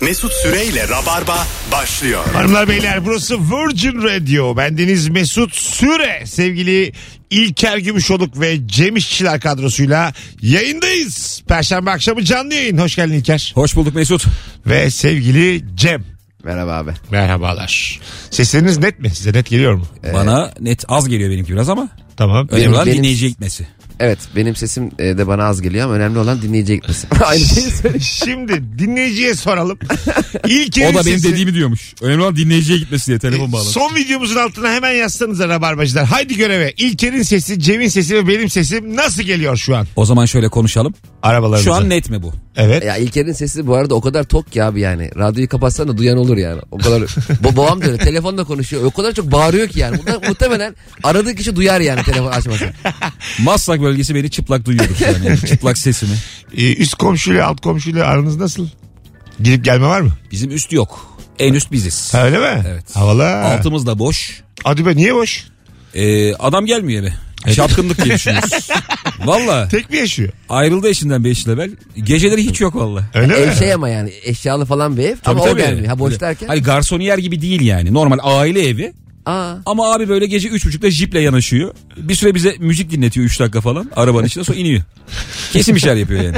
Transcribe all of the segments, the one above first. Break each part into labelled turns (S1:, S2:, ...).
S1: Mesut Süreyle Rabarba başlıyor.
S2: Hanımlar beyler burası Virgin Radio. Bendeniz Mesut Süre. Sevgili İlker Gümüşoluk ve Cem İşçiler kadrosuyla yayındayız. Perşembe akşamı canlı yayın. Hoş geldin İlker.
S3: Hoş bulduk Mesut.
S2: Ve sevgili Cem.
S4: Merhaba abi.
S2: Merhabalar. Sesleriniz net mi? Size net geliyor mu?
S3: Bana net az geliyor benimki biraz ama
S2: Tamam.
S3: önemli olan
S4: benim-
S3: dinleyiciye gitmesi.
S4: Evet benim sesim e, de bana az geliyor ama önemli olan dinleyiciye gitmesi. Aynı
S2: şey.
S4: şeyi söyle.
S2: Şimdi dinleyiciye soralım. İlker'in
S3: O da benim Ee,
S2: sesi-
S3: dediğimi diyormuş. Önemli olan dinleyiciye gitmesi diye telefon bağlamış.
S2: Son videomuzun altına hemen yazsanıza rabarbacılar. Haydi göreve. İlker'in sesi, Cem'in sesi ve benim sesim nasıl geliyor şu an?
S3: O zaman şöyle konuşalım.
S2: Arabalarımıza.
S3: Şu an net mi bu?
S2: Evet.
S4: Ya İlker'in sesi bu arada o kadar tok ki abi yani. Radyoyu kapatsan da duyan olur yani. O kadar Ba- babam da öyle telefonla konuşuyor. O kadar çok bağırıyor ki yani. Bunlar muhtemelen aradığı kişi duyar yani telefon açmasa.
S3: Maslak bölgesi beni çıplak duyuyordur şu an yani. çıplak sesimi.
S2: Ee, üst komşuyla alt komşuyla aranız nasıl? Gidip gelme var mı?
S3: Bizim üst yok. En üst biziz.
S2: Ha, öyle mi?
S3: Evet.
S2: Havalı.
S3: Altımız da boş.
S2: Hadi be niye boş?
S3: Ee, adam gelmiyor eve. Çapkınlık diye düşünüyoruz. valla
S2: Tek mi yaşıyor?
S3: ayrıldı eşinden 5 level. Geceleri hiç yok valla.
S2: Öyle
S4: ev
S2: mi?
S4: şey ama yani eşyalı falan bir ev. ama o gelmiyor. Ha boş derken.
S3: Hani garsoniyer gibi değil yani. Normal aile evi.
S4: Aa.
S3: Ama abi böyle gece üç buçukta jiple yanaşıyor. Bir süre bize müzik dinletiyor 3 dakika falan arabanın içinde sonra iniyor. Kesin bir şeyler yapıyor yani.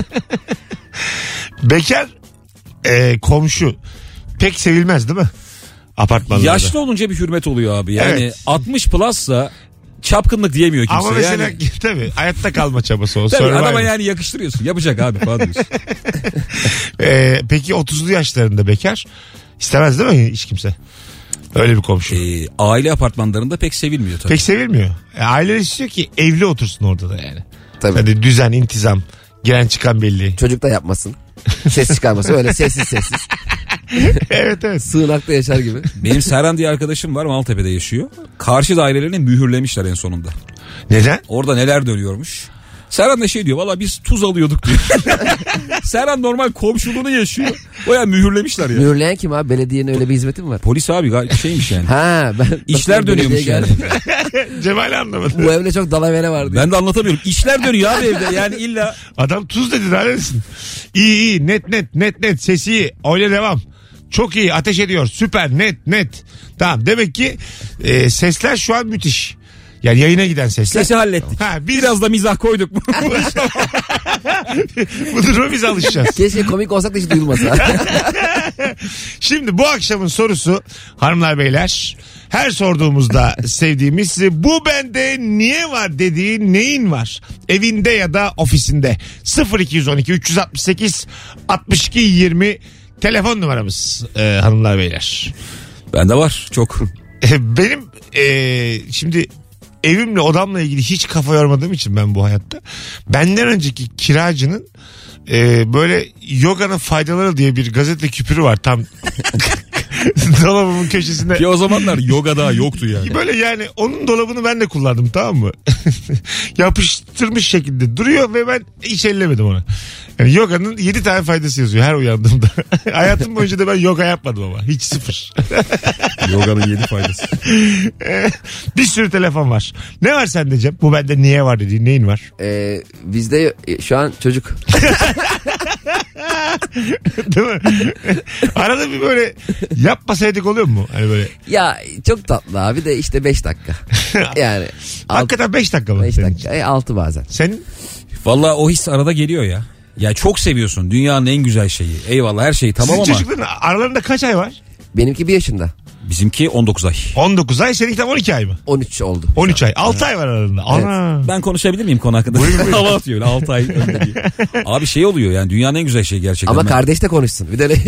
S2: Bekar e, komşu pek sevilmez değil mi? Apartmanlarda.
S3: Yaşlı olunca bir hürmet oluyor abi. Yani
S2: Evet.
S3: 60 plussa çapkınlık diyemiyor kimse.
S2: Ama mesela
S3: yani,
S2: tabii hayatta kalma çabası o.
S3: tabii
S2: survival.
S3: adama yani yakıştırıyorsun. Yapacak abi falan diyorsun.
S2: E, peki 30'lu yaşlarında bekar istemez değil mi hiç kimse? Öyle bir komşu.
S3: Ee, aile apartmanlarında pek sevilmiyor tabii.
S2: Pek sevilmiyor. E, aileler istiyor ki evli otursun orada da yani.
S4: Tabii.
S2: Hadi düzen, intizam, giren çıkan belli.
S4: Çocuk da yapmasın. Ses çıkarmasın. Öyle sessiz sessiz.
S2: evet evet.
S4: Sığınakta yaşar gibi.
S3: Benim Serhan diye arkadaşım var Maltepe'de yaşıyor. Karşı dairelerini mühürlemişler en sonunda.
S2: Neden?
S3: Orada neler dönüyormuş. Serhan da şey diyor valla biz tuz alıyorduk diyor. Serhan normal komşuluğunu yaşıyor. Baya mühürlemişler ya.
S4: Mühürleyen kim abi? Belediyenin öyle bir hizmeti mi var?
S3: Polis abi gayet şeymiş yani.
S4: Ha ben
S3: İşler dönüyormuş
S4: Belediye
S3: yani.
S4: geldi.
S2: Cemal anlamadı.
S4: Bu evde çok dalavere vardı.
S3: Ben de anlatamıyorum. İşler dönüyor abi evde. Yani illa
S2: Adam tuz dedi daha neresin? İyi iyi net net net net sesi iyi. Öyle devam. Çok iyi ateş ediyor süper net net. Tamam demek ki e, sesler şu an müthiş. Yani yayına giden sesler.
S3: sesi hallettik.
S2: Ha biz
S3: Biraz da mizah koyduk mu?
S2: bu duruma biz alışacağız.
S4: Keşke komik olsak da hiç duyulmasa.
S2: Şimdi bu akşamın sorusu hanımlar beyler. Her sorduğumuzda sevdiğimiz bu bende niye var dediği neyin var? Evinde ya da ofisinde. 0212 368 62 20 telefon numaramız e, hanımlar beyler.
S3: Bende var çok.
S2: E, Benim e, şimdi evimle odamla ilgili hiç kafa yormadığım için ben bu hayatta benden önceki kiracının e, böyle yoganın faydaları diye bir gazete küpürü var tam dolabımın köşesinde.
S3: Ki o zamanlar yoga daha yoktu yani.
S2: Böyle yani onun dolabını ben de kullandım tamam mı? Yapıştırmış şekilde duruyor ve ben hiç ellemedim onu. Yani yoganın 7 tane faydası yazıyor her uyandığımda. Hayatım boyunca da ben yoga yapmadım ama hiç sıfır.
S3: Yoganın yeni faydası.
S2: bir sürü telefon var. Ne var sende Cem? Bu bende niye var dediğin neyin var?
S4: Ee, bizde e, şu an çocuk.
S2: Değil mi? Arada bir böyle yapmasaydık oluyor mu? Hani böyle.
S4: Ya çok tatlı abi de işte 5 dakika. Yani
S2: Hakikaten 5 dakika mı?
S4: 5
S2: senin
S4: dakika. 6 bazen.
S2: için? Senin
S3: Valla o his arada geliyor ya. Ya çok seviyorsun dünyanın en güzel şeyi. Eyvallah her şeyi tamam
S2: sizin
S3: ama
S2: çocukların aralarında kaç ay var?
S4: Benimki 1 yaşında.
S3: bizimki 19 ay.
S2: 19 ay, seninki tam 12 ay mı?
S4: 13 oldu.
S2: 13 ay. 6 ay var aralarında. Ana.
S3: Ben konuşabilir miyim konu hakkında? Hava atıyor 6 ay önde diye. Abi şey oluyor yani dünyanın en güzel şeyi gerçekten.
S4: Ama
S3: Ben-
S4: kardeş de konuşsun. Bir de ne?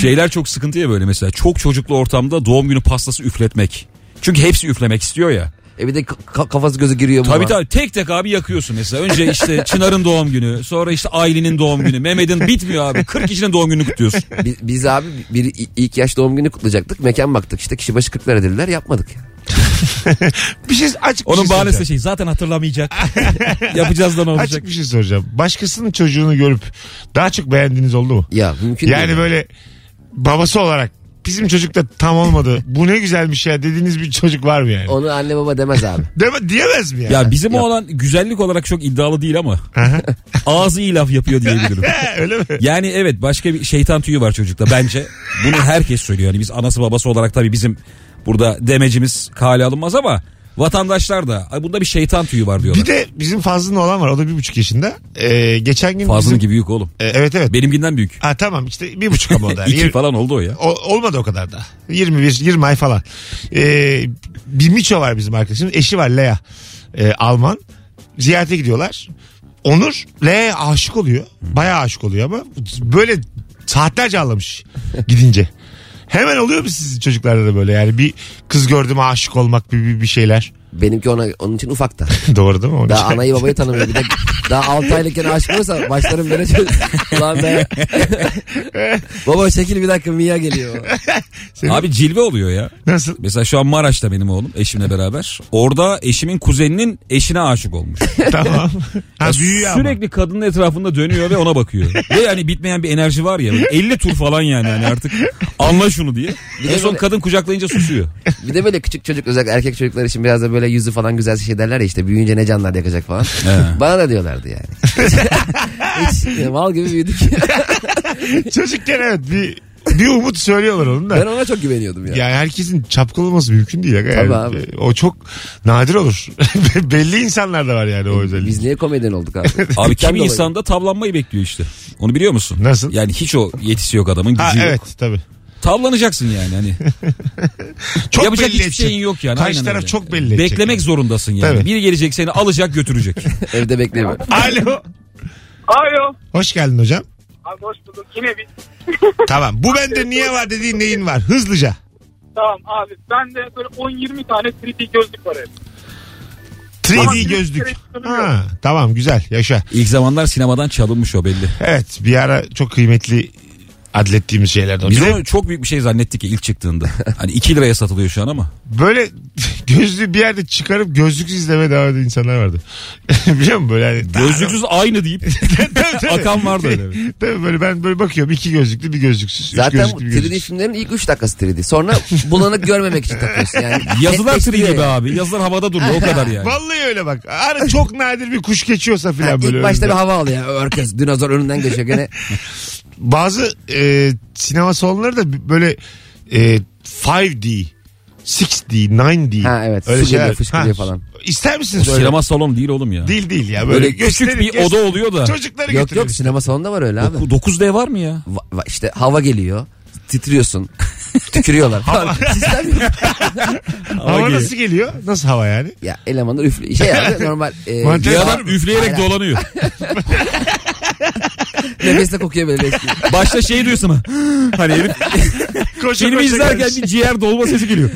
S3: Şeyler çok sıkıntı ya böyle mesela. Çok çocuklu ortamda doğum günü pastası üfletmek. Çünkü hepsi üflemek istiyor ya.
S4: e bir de ka- kafası gözü giriyor buna.
S3: Tabii tabii tek tek abi yakıyorsun mesela. Önce işte Çınar'ın doğum günü, sonra işte Aylin'in doğum günü, Mehmet'in bitmiyor abi. 40 kişinin doğum gününü kutluyorsun.
S4: Biz, biz abi bir i- ilk yaş doğum günü kutlayacaktık. Mekan baktık işte kişi başı 40 lira dediler yapmadık.
S2: Bir şey açık bir
S3: Onun
S2: şey
S3: bahanesi de
S2: soracağım.
S3: şey zaten hatırlamayacak. Yapacağız da ne olacak?
S2: Açık bir şey soracağım. Başkasının çocuğunu görüp daha çok beğendiğiniz oldu mu?
S4: Ya mümkün değil.
S2: Yani böyle babası olarak bizim çocuk da tam olmadı. Bu ne güzel bir şey dediğiniz bir çocuk var mı yani?
S4: Onu anne baba demez abi.
S2: Deme, diyemez mi yani?
S3: Ya bizim oğlan güzellik olarak çok iddialı değil ama ağzı iyi laf yapıyor diyebilirim.
S2: He, öyle mi?
S3: Yani evet başka bir şeytan tüyü var çocukta bence. Bunu herkes söylüyor. Yani biz anası babası olarak tabii bizim burada demecimiz kale alınmaz ama vatandaşlar da "Ay bunda bir şeytan tüyü var diyorlar.
S2: Bir de bizim Fazlı'nın olan var. O da bir buçuk yaşında. Ee, geçen gün
S3: Fazlının
S2: bizim...
S3: gibi büyük oğlum.
S2: Ee, evet evet.
S3: Benimkinden büyük.
S2: Ha, tamam işte bir buçuk ama o da. Yani.
S3: İki falan oldu o ya.
S2: O- olmadı o kadar da. 21 20 ay falan. Ee, bir Miço var bizim arkadaşımız. Eşi var Lea. Ee, Alman. Ziyarete gidiyorlar. Onur Lea'ya aşık oluyor. Bayağı aşık oluyor ama böyle saatlerce ağlamış gidince. Hemen oluyor mu sizin çocuklarda da böyle yani bir kız gördüm aşık olmak bir, bir, bir şeyler.
S4: Benimki ona onun için ufak da.
S2: Doğru değil mi? Onun
S4: Daha
S2: için-
S4: anayı babayı tanımıyor. Bir de daha 6 aylıkken aşık olursa başlarım böyle çöz. Ulan be. Baba çekil bir dakika Mia geliyor.
S3: Abi cilve oluyor ya.
S2: Nasıl?
S3: Mesela şu an Maraş'ta benim oğlum eşimle beraber. Orada eşimin kuzeninin eşine aşık olmuş.
S2: tamam. Ha,
S3: Ya
S2: büyüyor ama.
S3: sürekli kadının etrafında dönüyor ve ona bakıyor. ve yani bitmeyen bir enerji var ya. böyle 50 tur falan yani, yani artık anla şunu diye.
S4: Bir de
S3: En son
S4: böyle-
S3: kadın kucaklayınca susuyor.
S4: Bir de böyle küçük çocuk özellikle erkek çocuklar için biraz da böyle yüzü falan güzel şey derler ya işte büyüyünce ne canlar yakacak falan.
S3: He.
S4: Bana da diyorlardı yani. Hiç ya, mal gibi büyüdük.
S2: Çocukken evet bir, bir umut söylüyorlar onun da.
S4: ben ona çok güveniyordum ya.
S2: Ya herkesin çapkın olması mümkün değil. Aga.
S4: Tabii
S2: Yani e,
S4: abi.
S2: O çok nadir olur. Belli insanlar da var yani o özellik.
S4: Biz niye komedyen olduk abi?
S3: Abi
S4: Cidden
S3: kimi
S4: dolayı.
S3: insanda tavlanmayı bekliyor işte. Onu biliyor musun?
S2: Nasıl?
S3: Yani hiç o yetisi yok adamın gücü
S2: Ha
S3: yok.
S2: evet tabii.
S3: Tavlanacaksın yani hani.
S2: Çok
S3: Yapacak
S2: belli
S3: hiçbir
S2: edecek.
S3: şeyin yok yani.
S2: Karşı
S3: Aynen
S2: taraf
S3: öyle.
S2: çok belli edecek.
S3: Beklemek zorundasın yani.
S2: Tabii.
S3: Biri gelecek seni alacak götürecek.
S4: Evde bekleme.
S2: Alo.
S5: Alo.
S2: Hoş geldin hocam.
S5: Abi hoş bulduk. Yine biz.
S2: Tamam. Bu bende niye var dediğin neyin var? Hızlıca.
S5: Tamam abi. Ben de böyle 10-20 tane 3D gözlük var evde. Tamam,
S2: 3D
S5: bir
S2: gözlük.
S5: kere çıkarıyorum.
S2: Ha, tamam güzel yaşa.
S3: İlk zamanlar sinemadan çalınmış o belli.
S2: Evet bir ara çok kıymetli adlettiğimiz şeylerden.
S3: Biz
S2: Bir de
S3: onu çok büyük bir şey zannettik ya ilk çıktığında. Hani 2 liraya satılıyor şu an ama.
S2: böyle gözlüğü bir yerde çıkarıp gözlüksüz izlemeye devam eden insanlar vardı. Biliyor musun böyle hani.
S3: Gözlüksüz aynı deyip
S2: Tabii, tabii.
S3: akan vardı öyle.
S2: Tabii böyle ben böyle bakıyorum iki gözlüklü bir gözlüksüz. üç
S4: Zaten bu
S2: gözlüklü bir
S4: 3D filmlerin ilk 3 dakikası 3D. Sonra bulanık görmemek için takıyorsun yani.
S3: Yazılar
S4: Net
S3: tri
S4: etkiliyor
S3: gibi
S4: yani.
S3: abi. Yazılar havada duruyor o kadar yani.
S2: Vallahi öyle bak. Ara çok nadir bir kuş geçiyorsa
S4: Ha,
S2: filan
S4: ilk
S2: böyle.
S4: başta bir
S2: önümde.
S4: hava al ya. Herkes dinozor önünden geçiyor gene.
S2: Bazı e, sinema salonları da böyle e, 5D, 6D, 9D.
S4: Ha, evet. Su geliyor, fışkırıyor falan.
S2: İster misiniz öyle?
S3: Sinema salonu değil oğlum ya.
S2: Değil değil ya. Böyle,
S4: Öyle
S3: Küçük
S2: gösterin,
S3: bir
S2: gösterin.
S3: oda oluyor da.
S2: Çocukları
S4: Yok yok
S2: götürün.
S4: sinema salonunda var öyle abi.
S3: Bu 9D var mı ya?
S4: Va- va- işte hava geliyor. Titriyorsun. Tükürüyorlar. falan. Sistem yok.
S2: Hava
S3: Abi.
S2: nasıl geliyor? Nasıl hava yani?
S4: ya elemanlar üflüyor. Şey abi normal. E,
S2: Mantar-
S3: Bir
S2: Var
S3: adam
S2: mı?
S3: üfleyerek dolanıyor.
S4: nefesle kokuyor böyle. leş gibi.
S3: Başta şey diyorsun ha. Hani herif
S2: Koşa
S3: filmi
S2: koşa
S3: izlerken
S2: gelmiş.
S3: bir ciğer dolma sesi geliyor.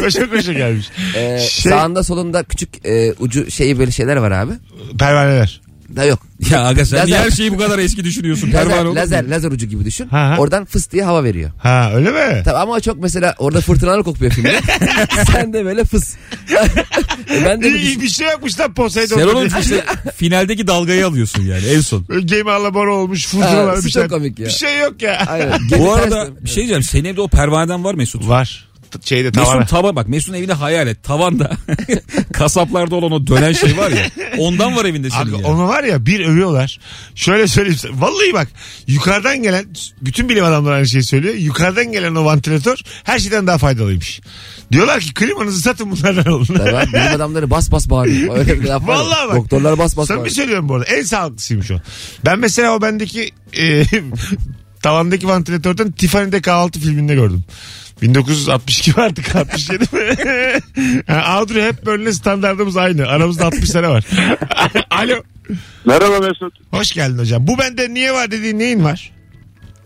S2: koşa koşa gelmiş.
S4: E,
S2: şey,
S4: Sağında solunda küçük e, ucu şeyi böyle şeyler var abi.
S2: pervaneler.
S4: Da yok.
S3: Ya aga sen niye
S4: Lazer.
S3: her şeyi bu kadar eski düşünüyorsun? Pervane
S4: Lazer,
S3: olur.
S4: lazer, lazer ucu gibi düşün.
S2: Ha, ha.
S4: Oradan fıs diye hava veriyor.
S2: Ha öyle mi?
S4: Tabii ama o çok mesela orada fırtınalı kokuyor filmde. Sen de böyle fıs. E ben de bir
S2: İyi, iyi
S4: düşün.
S2: bir şey yapmış lan Poseidon.
S3: Sen onun işte finaldeki dalgayı alıyorsun yani en son.
S2: Gemi alabora olmuş.
S4: Ha,
S2: Fırtınalar
S4: su
S2: bir
S4: çok
S2: şey.
S4: komik ya.
S2: Bir şey yok ya.
S4: Aynen. Geri
S3: Bu arada
S4: ters
S3: bir şey diyeceğim. Senin evde o pervaneden var Mesut.
S2: Var. T- Şeyde
S3: Mesut'un
S2: tavana.
S3: tava bak Mesut'un evini hayal et. Tavanda kasaplarda olan o dönen şey var ya. Ondan var evinde senin
S2: Aga,
S3: ya.
S2: Onu var ya bir övüyorlar. Şöyle söyleyeyim size. Vallahi bak yukarıdan gelen bütün bilim adamları aynı şeyi söylüyor. Yukarıdan gelen o vantilatör her şeyden daha faydalıymış. Diyorlar ki klimanızı satın bunlardan olun.
S4: dön. Tabii abi, Bilim adamları bas bas bağırıyor. Öyle bir laf var. ya.
S2: Vallahi bak.
S4: Doktorlar bas bas
S2: Sana bir
S4: bağırıyor.
S2: söylüyorum bu arada. En sağlıklısıymış o. Ben mesela o bendeki e, tavandaki vantilatörden Tiffany'de K6 filminde gördüm. 1962 mi artık 67 mi? yani Audrey Hepburn'le standartımız aynı. Aramızda 60 sene var. Alo.
S6: Merhaba Mesut.
S2: Hoş geldin hocam. Bu bende niye var dediğin neyin var?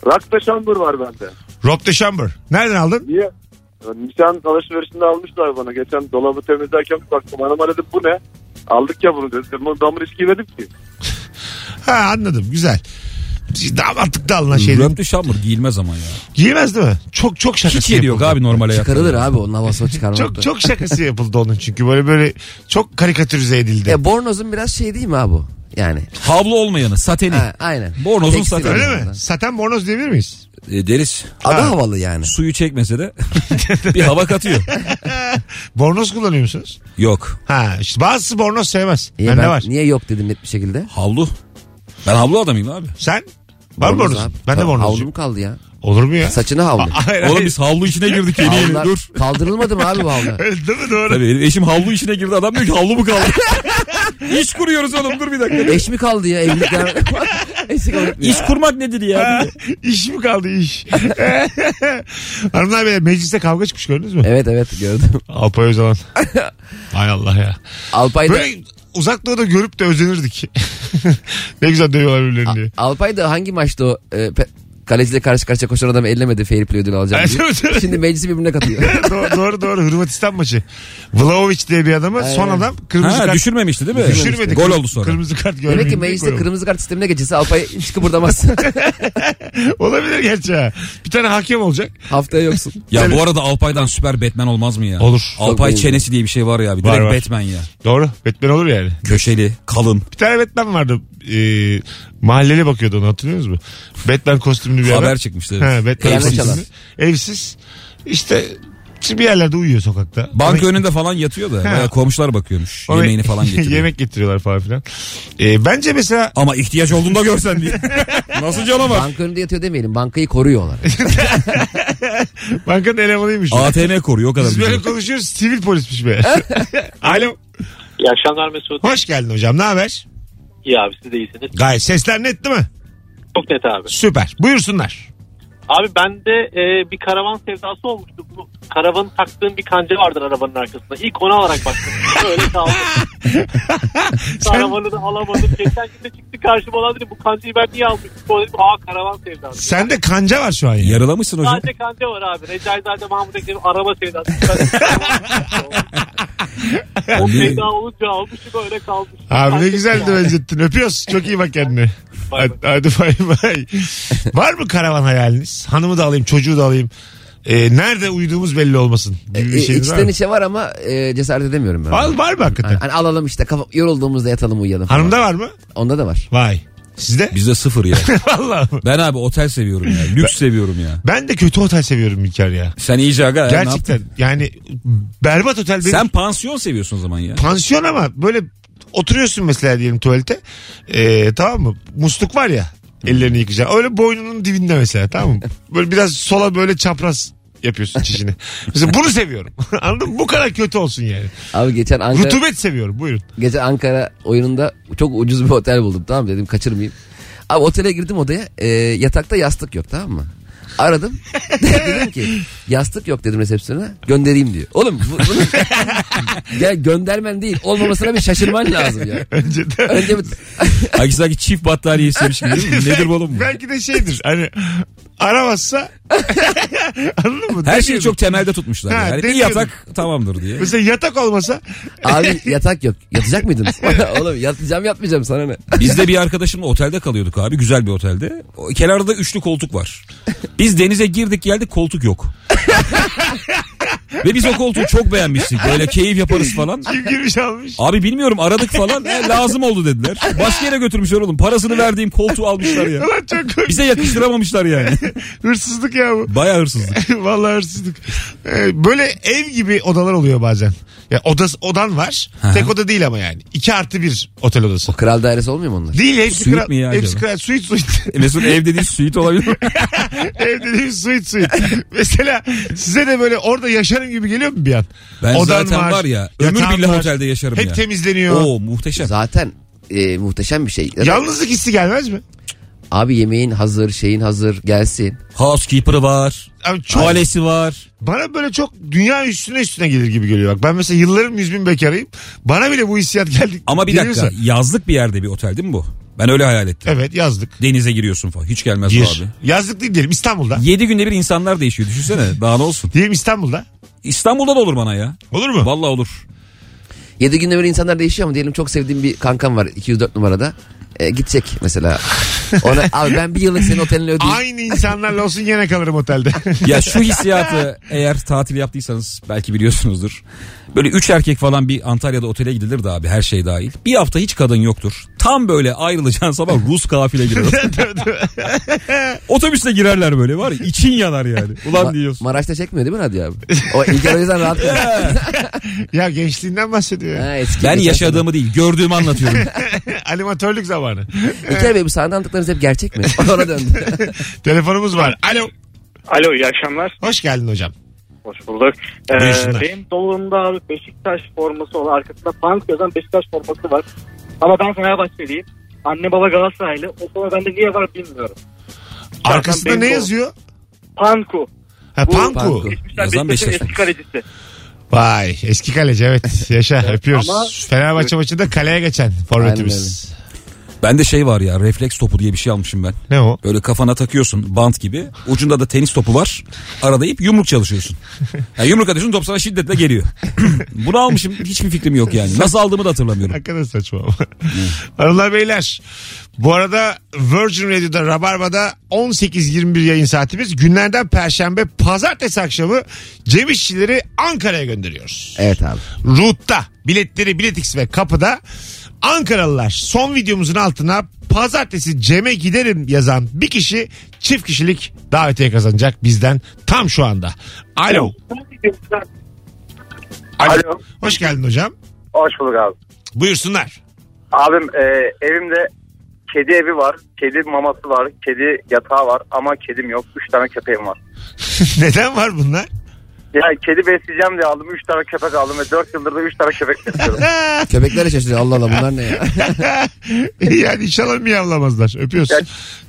S6: Rock da şambur var bende.
S2: Rob de Chamber. Nereden aldın?
S6: Niye? Ya, Nişan alışverişinde almışlar bana. Geçen dolabı temizlerken bir baktım. Hanıma dedim bu ne? Aldık ya bunu dedim. Bunu damar riski yemedim ki.
S2: Ha anladım güzel. Damatlık da alınan şey.
S3: Röptü şambur giyilmez ama ya.
S2: Giyemez değil mi? Çok çok şakası
S3: Hiç yeri yok
S2: yapıldı.
S3: abi normal hayatta.
S4: Çıkarılır abi onun havası o çıkarmak.
S2: Şey Çok çok şakası yapıldı onun çünkü. Böyle böyle çok karikatürize edildi.
S4: E, bornozun biraz şey değil mi abi bu? Yani.
S3: Havlu olmayanı, sateni.
S4: Ha, aynen.
S3: Bornozun
S4: Tekstil
S3: sateni.
S2: Şey, Öyle
S4: Anladım.
S2: mi? Saten bornoz diyebilir miyiz?
S3: E, deriz.
S4: Adı
S2: Ha.
S4: havalı yani.
S3: Suyu çekmese de bir hava katıyor.
S2: Bornoz kullanıyor musunuz?
S3: Yok.
S2: Ha işte bazısı bornoz sevmez.
S4: Niye,
S2: Bende
S4: ben-
S2: var.
S4: niye yok dedim net bir şekilde.
S3: Havlu. Ben havlu adamıyım abi.
S2: Sen? Var mı bornoz?
S4: abi.
S2: Ben de
S4: Tamam,
S2: bornoz.
S4: Havlu mu kaldı ya?
S2: Olur mu ya?
S4: Saçına havlu.
S2: Hayır,
S3: Oğlum
S2: hayır.
S3: biz havlu içine girdik yeni yeni
S4: Havlular
S3: dur.
S4: kaldırılmadı mı abi bu havlu?
S2: Öyle Değil mi doğru?
S3: Tabii benim eşim havlu içine girdi adam diyor ki havlu mu kaldı? İş kuruyoruz oğlum dur bir dakika.
S4: Eş mi kaldı ya evlilik? ya? Eşlik olarak-
S3: İş kurmak nedir ya?
S2: iş mi kaldı iş? Hanımlar beyler mecliste kavga çıkmış gördünüz mü?
S4: Evet evet gördüm.
S2: Alpay Özalan. Hay Allah ya.
S4: Alpay da,
S2: Böyle uzak doğuda görüp de özenirdik. ne güzel dövüyorlar birbirlerini diye.
S4: Alpay da hangi maçta o e, pe- kaleciyle karşı karşıya koşan adamı ellemedi fair play ödülü alacağım
S2: Evet,
S4: diye.
S2: evet, evet.
S4: Şimdi meclisi birbirine katıyor.
S2: doğru, doğru doğru Hırvatistan maçı. Vlaovic diye bir adamı son adam kırmızı
S3: Ha
S2: kart
S3: düşürmemişti değil mi?
S2: düşürmedi.
S3: Gol
S2: Kır-
S3: oldu sonra.
S2: Kırmızı kart görmeyince
S4: Demek ki mecliste
S2: gol oldu.
S4: kırmızı kart sistemine geçirse Alpay hiç kıpırdamaz.
S2: Olabilir gerçi ha. Bir tane hakem olacak.
S4: Haftaya yoksun.
S3: Ya bu arada Alpay'dan süper Batman olmaz mı ya?
S2: Olur.
S3: Alpay
S4: Çok iyi.
S3: çenesi diye bir şey var ya abi.
S2: Var,
S3: Direkt
S2: var.
S3: Batman ya.
S2: Doğru. Batman olur yani.
S3: Köşeli, kalın.
S2: Bir tane Batman vardı. Ee, mahalleli bakıyordu onu hatırlıyor musunuz? Batman kostümlü bir adam.
S3: Haber çıkmıştı. evet.
S2: Ha, Batman
S4: Kıyamet
S2: kostümlü.
S4: çalan.
S2: Evsiz. İşte bir yerlerde uyuyor sokakta.
S3: Banka
S2: Yemek-
S3: önünde falan yatıyor da. bayağı komşular bakıyormuş.
S2: Ona-
S3: Yemeğini falan getiriyor.
S2: yemek getiriyorlar falan filan. Ee, bence mesela
S3: Ama ihtiyaç olduğunda görsen diye. Nasıl canavar?
S4: Banka önünde yatıyor demeyelim. Bankayı koruyorlar.
S2: bankanın elemanıymış.
S3: ATM koruyor o kadar.
S2: Biz
S3: bir
S2: böyle
S3: şey.
S2: konuşuyoruz sivil polismiş be. Alo.
S5: İyi akşamlar Mesut.
S2: Hoş geldin hocam ne haber?
S5: İyi abi siz de iyisiniz.
S2: Gayet sesler net değil mi?
S5: Çok net abi.
S2: Süper. Buyursunlar.
S5: Abi bende e, bir karavan sevdası olmuştu. Bu karavanı taktığım bir kanca vardır arabanın arkasında. İlk onu alarak başladım. Öyle kaldı. Karavanı da alamadım. Geçen gün de çıktı karşıma olan dedi bu kancayı ben niye almıştım? Sonra dedim aa karavan sevdası.
S2: Sende kanca var şu an ya.
S3: Yaralamışsın hocam.
S5: Sadece kanca var abi. Recaizade Mahmut Ekrem'in araba sevdası. o
S3: Bir-
S5: sevda olunca almışım öyle kalmış.
S2: Abi ne
S5: Kanca
S2: güzeldi
S5: sevdası.
S2: benzettin. Öpüyoruz. Çok iyi bak kendine.
S5: Bay bay.
S2: Hadi, hadi bay bay. Var mı karavan hayaliniz? Hanımı da alayım, çocuğu da alayım. Ee, nerede uyuduğumuz belli olmasın.
S4: E,
S2: Gibi bir şeyiniz var
S4: içten
S2: mı?
S4: içe var ama e, cesaret edemiyorum ben.
S2: Var, var mı hakikaten?
S4: Hani alalım işte kafa, yorulduğumuzda yatalım uyuyalım. falan.
S2: Hanımda var mı?
S4: Onda da var.
S2: Vay. Sizde?
S3: Bizde sıfır ya.
S2: Vallahi mı?
S3: Ben abi otel seviyorum ya. Lüks seviyorum ya.
S2: Ben de kötü otel seviyorum İlker ya.
S3: Sen iyice aga. ya, ne yaptın?
S2: Gerçekten yani berbat otel benim.
S3: Sen pansiyon seviyorsun o zaman ya.
S2: pansiyon ama böyle oturuyorsun mesela diyelim tuvalete. Ee, tamam mı? Musluk var ya ellerini yıkayacaksın. Öyle boynunun dibinde mesela tamam mı? Böyle biraz sola böyle çapraz yapıyorsun çişini. Mesela bunu seviyorum. Anladın mı? Bu kadar kötü olsun yani.
S4: Abi geçen Ankara...
S2: Rutubet seviyorum. Buyurun.
S4: Gece Ankara oyununda çok ucuz bir otel buldum tamam mı? dedim kaçırmayayım. Abi otele girdim odaya e, yatakta yastık yok tamam mı? Aradım. dedim ki yastık yok dedim resepsiyona göndereyim diyor. Oğlum bu, bunu ya göndermen değil olmamasına bir şaşırman lazım ya.
S2: Önce de
S4: Önce bir
S3: Ay sanki çift battaniye istemiş gibi değil mi? Nedir bu oğlum bu?
S2: belki de şeydir hani aramazsa anladın mı?
S3: Her şeyi
S2: Demiyorum.
S3: çok temelde tutmuşlar.
S2: Ha,
S3: yani. Bir
S2: demiyorum.
S3: yatak tamamdır diye.
S2: Mesela yatak olmasa
S4: abi yatak yok. Yatacak mıydınız? Oğlum yatacağım yatmayacağım sana ne?
S3: Biz de bir arkadaşımla otelde kalıyorduk abi. Güzel bir otelde. O, kenarda üçlü koltuk var. Biz denize girdik geldik koltuk yok. Ve biz o koltuğu çok beğenmiştik. Böyle keyif yaparız falan.
S2: kim girmiş almış.
S3: Abi bilmiyorum aradık falan. E, lazım oldu dediler. Başka yere götürmüşler oğlum. Parasını verdiğim koltuğu almışlar ya.
S2: Ulan çok komik.
S3: Bize yakıştıramamışlar yani.
S2: Hırsızlık ya bu.
S3: Bayağı hırsızlık.
S2: Vallahi hırsızlık. Ee, böyle ev gibi odalar oluyor bazen. Ya odası, odan var. Tek oda değil ama yani. 2 artı bir otel odası.
S4: Kral dairesi olmuyor mu onlar?
S2: Değil hepsi
S3: Suite
S2: kral.
S3: mi ya
S2: hepsi
S3: acaba?
S2: kral. Suite suite.
S3: E, Mesut ev dediğin suite olabilir mi?
S2: ev dediğim suite suite. Mesela size de böyle orada yaşarım gibi geliyor mu bir an?
S3: Ben zaten var ya, ömür
S2: yatağın
S3: billah
S2: var.
S3: otelde yaşarım
S2: Hep
S3: ya.
S2: temizleniyor.
S3: Oo muhteşem.
S4: Zaten e, muhteşem bir şey.
S2: Yalnızlık hissi gelmez mi?
S4: Abi yemeğin hazır şeyin hazır gelsin.
S3: Housekeeper'ı var.
S2: Abi çok,
S3: Tuvalesi var.
S2: bana böyle çok dünya üstüne üstüne gelir gibi geliyor. Bak ben mesela yıllarım yüz bin bekarıyım. Bana bile bu hissiyat geldi.
S3: Ama bir dakika
S2: geliyorsa-
S3: yazlık bir yerde bir otel değil mi bu? Ben öyle hayal ettim.
S2: Evet yazdık.
S3: Denize giriyorsun falan. Hiç gelmez bu
S2: Gir.
S3: abi.
S2: Yazlık değil diyelim İstanbul'da.
S3: 7 günde bir insanlar değişiyor düşünsene. Daha ne olsun.
S2: Diyelim İstanbul'da.
S3: İstanbul'da da olur bana ya.
S2: Olur mu?
S3: Vallahi olur.
S4: Yedi günde böyle insanlar değişiyor ama diyelim çok sevdiğim bir kankam var 204 numarada. E, gidecek mesela. Ona abi ben bir yıllık senin otelini ödeyeyim.
S2: Aynı insanlarla olsun yine kalırım otelde.
S3: Ya şu hissiyatı eğer tatil yaptıysanız belki biliyorsunuzdur. Böyle üç erkek falan bir Antalya'da otele gidilirdi abi her şey dahil. Bir hafta hiç kadın yoktur. Tam böyle ayrılacağın sabah Rus kafile girer. Otobüste girerler böyle var ya için yanar yani. Ulan
S4: Ma-
S3: diyorsun.
S4: Maraş'ta çekmiyor değil mi Radyo abi? O İlker o yüzden rahat kalıyor.
S2: Ya gençliğinden bahsediyor. ya.
S4: Ha, eski
S3: Ben
S4: geçen
S3: yaşadığımı değil gördüğümü anlatıyorum.
S2: Animatörlük zamanı.
S4: sene. İlker Bey bu sahne anlattıklarınız hep gerçek mi? Ona döndü.
S2: Telefonumuz var. Alo.
S7: Alo iyi akşamlar.
S2: Hoş geldin hocam.
S7: Hoş bulduk.
S2: Buyursunlar.
S7: Ee, benim dolabımda abi Beşiktaş forması olan arkasında bank yazan Beşiktaş forması var. Ama ben Fenerbahçeliyim. Anne baba Galatasaraylı. O forma bende niye var bilmiyorum.
S2: Arkasında
S7: benim
S2: ne
S7: o.
S2: yazıyor?
S7: Panku.
S2: Ha, panku.
S4: Panku.
S7: Beşiktaş Beşiktaş'ın
S3: Yazan Beşiktaş.
S7: eski kalecisi.
S2: Vay eski kaleci evet. Yaşa öpüyoruz.
S7: ama-
S2: Fenerbahçe maçında kaleye geçen forvetimiz.
S3: ben de şey var ya refleks topu diye bir şey almışım ben.
S2: Ne o?
S3: Böyle kafana takıyorsun bant gibi. Ucunda da tenis topu var. Arada ip yumruk çalışıyorsun. Yani yumruk atıyorsun top sana şiddetle geliyor. Bunu almışım hiçbir fikrim yok yani. Nasıl aldığımı da hatırlamıyorum.
S2: Hakikaten saçma ama. Hanımlar beyler. Bu arada Virgin Radio'da Rabarba'da 18-21 yayın saatimiz. Günlerden Perşembe pazartesi akşamı Cem İşçileri Ankara'ya gönderiyoruz.
S4: Evet abi.
S2: Root'ta biletleri Biletix ve kapıda Ankaralılar son videomuzun altına pazartesi Cem'e giderim yazan bir kişi çift kişilik davetiye kazanacak bizden tam şu anda. Alo. Alo.
S8: Alo.
S2: Hoş geldin hocam.
S8: Hoş bulduk abi.
S2: Buyursunlar.
S8: Abim e, evimde kedi evi var, kedi maması var, kedi yatağı var ama kedim yok. Üç tane köpeğim var.
S2: Neden var bunlar?
S8: Ya kedi besleyeceğim diye aldım. Üç tane köpek aldım ve dört yıldır da üç tane köpek besliyorum.
S4: Köpekler de şaşırıyor. Allah Allah bunlar ne ya?
S2: yani inşallah miyavlamazlar. Öpüyorsun.
S8: Ya-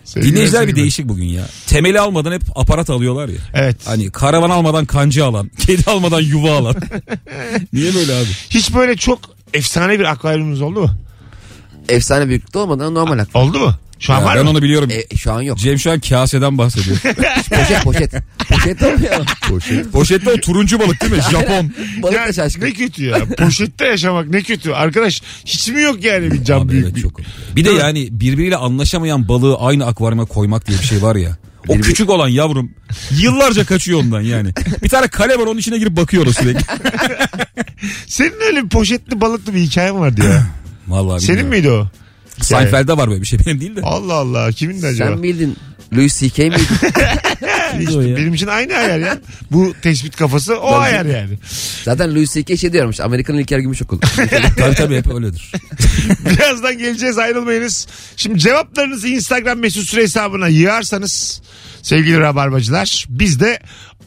S2: Sevgiler,
S3: Dinleyiciler bir
S2: sevgiler.
S3: değişik bugün ya. Temeli almadan hep aparat alıyorlar ya.
S2: Evet.
S3: Hani karavan almadan kancı alan, kedi almadan yuva alan. Niye böyle abi?
S2: Hiç böyle çok efsane bir akvaryumunuz oldu mu?
S4: Efsane büyüklükte olmadan normal aklı.
S2: Oldu mu? Şu an
S3: Ya
S2: var
S3: ben
S2: mı?
S3: onu biliyorum.
S4: E, şu an yok.
S3: Cem şu an kaseden bahsediyor.
S4: Poşet poşet. Poşet olmuyor. Poşet.
S3: Poşette o turuncu balık değil mi? Japon.
S4: Balık
S2: Ya
S4: da şaşkın.
S2: Ne kötü ya. Poşette yaşamak ne kötü. Arkadaş hiç mi yok yani bir cam
S3: Abi
S2: büyük
S3: evet,
S2: bir-
S3: çok komik. Bir de yani birbiriyle anlaşamayan balığı aynı akvaryuma koymak diye bir şey var ya. O küçük olan yavrum yıllarca kaçıyor ondan yani. Bir tane kale var onun içine girip bakıyoruz sürekli.
S2: Senin öyle bir poşetli balıklı bir hikayen vardı ya.
S3: Vallahi
S2: Senin
S3: bilmiyorum.
S2: miydi o?
S3: Seinfeld'de var böyle bir şey benim değil de.
S2: Allah Allah kimin de acaba?
S4: Sen bildin. Louis C.K. miydi?
S3: o ya?
S2: Benim için aynı ayar ya. Bu tespit kafası o ayar yani.
S4: Zaten Louis C.K. şey diyormuş. Amerikan İlker Gümüşokul.
S3: tabii tabii hep öyledir.
S2: Birazdan geleceğiz ayrılmayınız. Şimdi cevaplarınızı Instagram mesut süre hesabına yığarsanız sevgili rabarbacılar biz de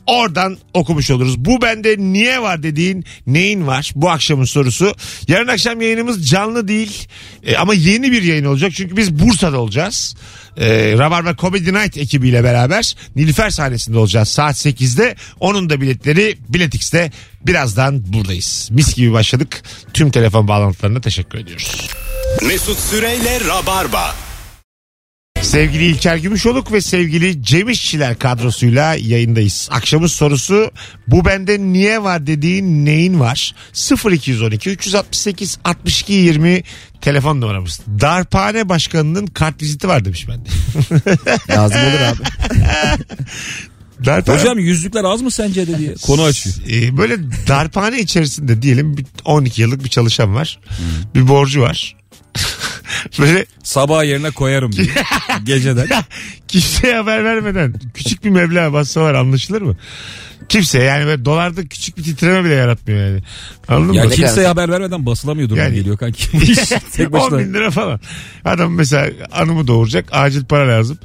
S2: oradan okumuş oluruz. Bu bende niye var dediğin neyin var bu akşamın sorusu. Yarın akşam yayınımız canlı değil E, ama yeni bir yayın olacak çünkü biz Bursa'da olacağız. E, Rabarba Comedy Night ekibiyle beraber Nilüfer sahnesinde olacağız saat 8'de. Onun da biletleri Biletix'te birazdan buradayız. Mis gibi başladık. Tüm telefon bağlantılarına teşekkür ediyoruz.
S1: Mesut Süreyle Rabarba.
S2: Sevgili İlker Gümüşoluk ve sevgili Cem İşçiler kadrosuyla yayındayız. Akşamın sorusu bu bende niye var dediğin neyin var? 0212 368 62 20 telefon numaramız. Darphane başkanının kartviziti var demiş bende.
S4: Lazım olur abi.
S2: Darphane,
S3: Hocam yüzlükler az mı sence de diye konu açıyor.
S2: e, böyle darphane içerisinde diyelim bir 12 yıllık bir çalışan var. Bir borcu var. böyle
S3: Sabah yerine koyarım diye. Geceden.
S2: kimseye haber vermeden küçük bir meblağ bassalar anlaşılır mı? Kimse yani böyle dolarda küçük bir titreme bile yaratmıyor yani. Anladın
S3: Ya
S2: mı?
S3: kimseye haber vermeden basılamıyordur
S2: Yani-
S3: geliyor kanki. Bu iş Tek
S2: 10
S3: başına.
S2: bin lira falan. Adam mesela anımı doğuracak. Acil para lazım.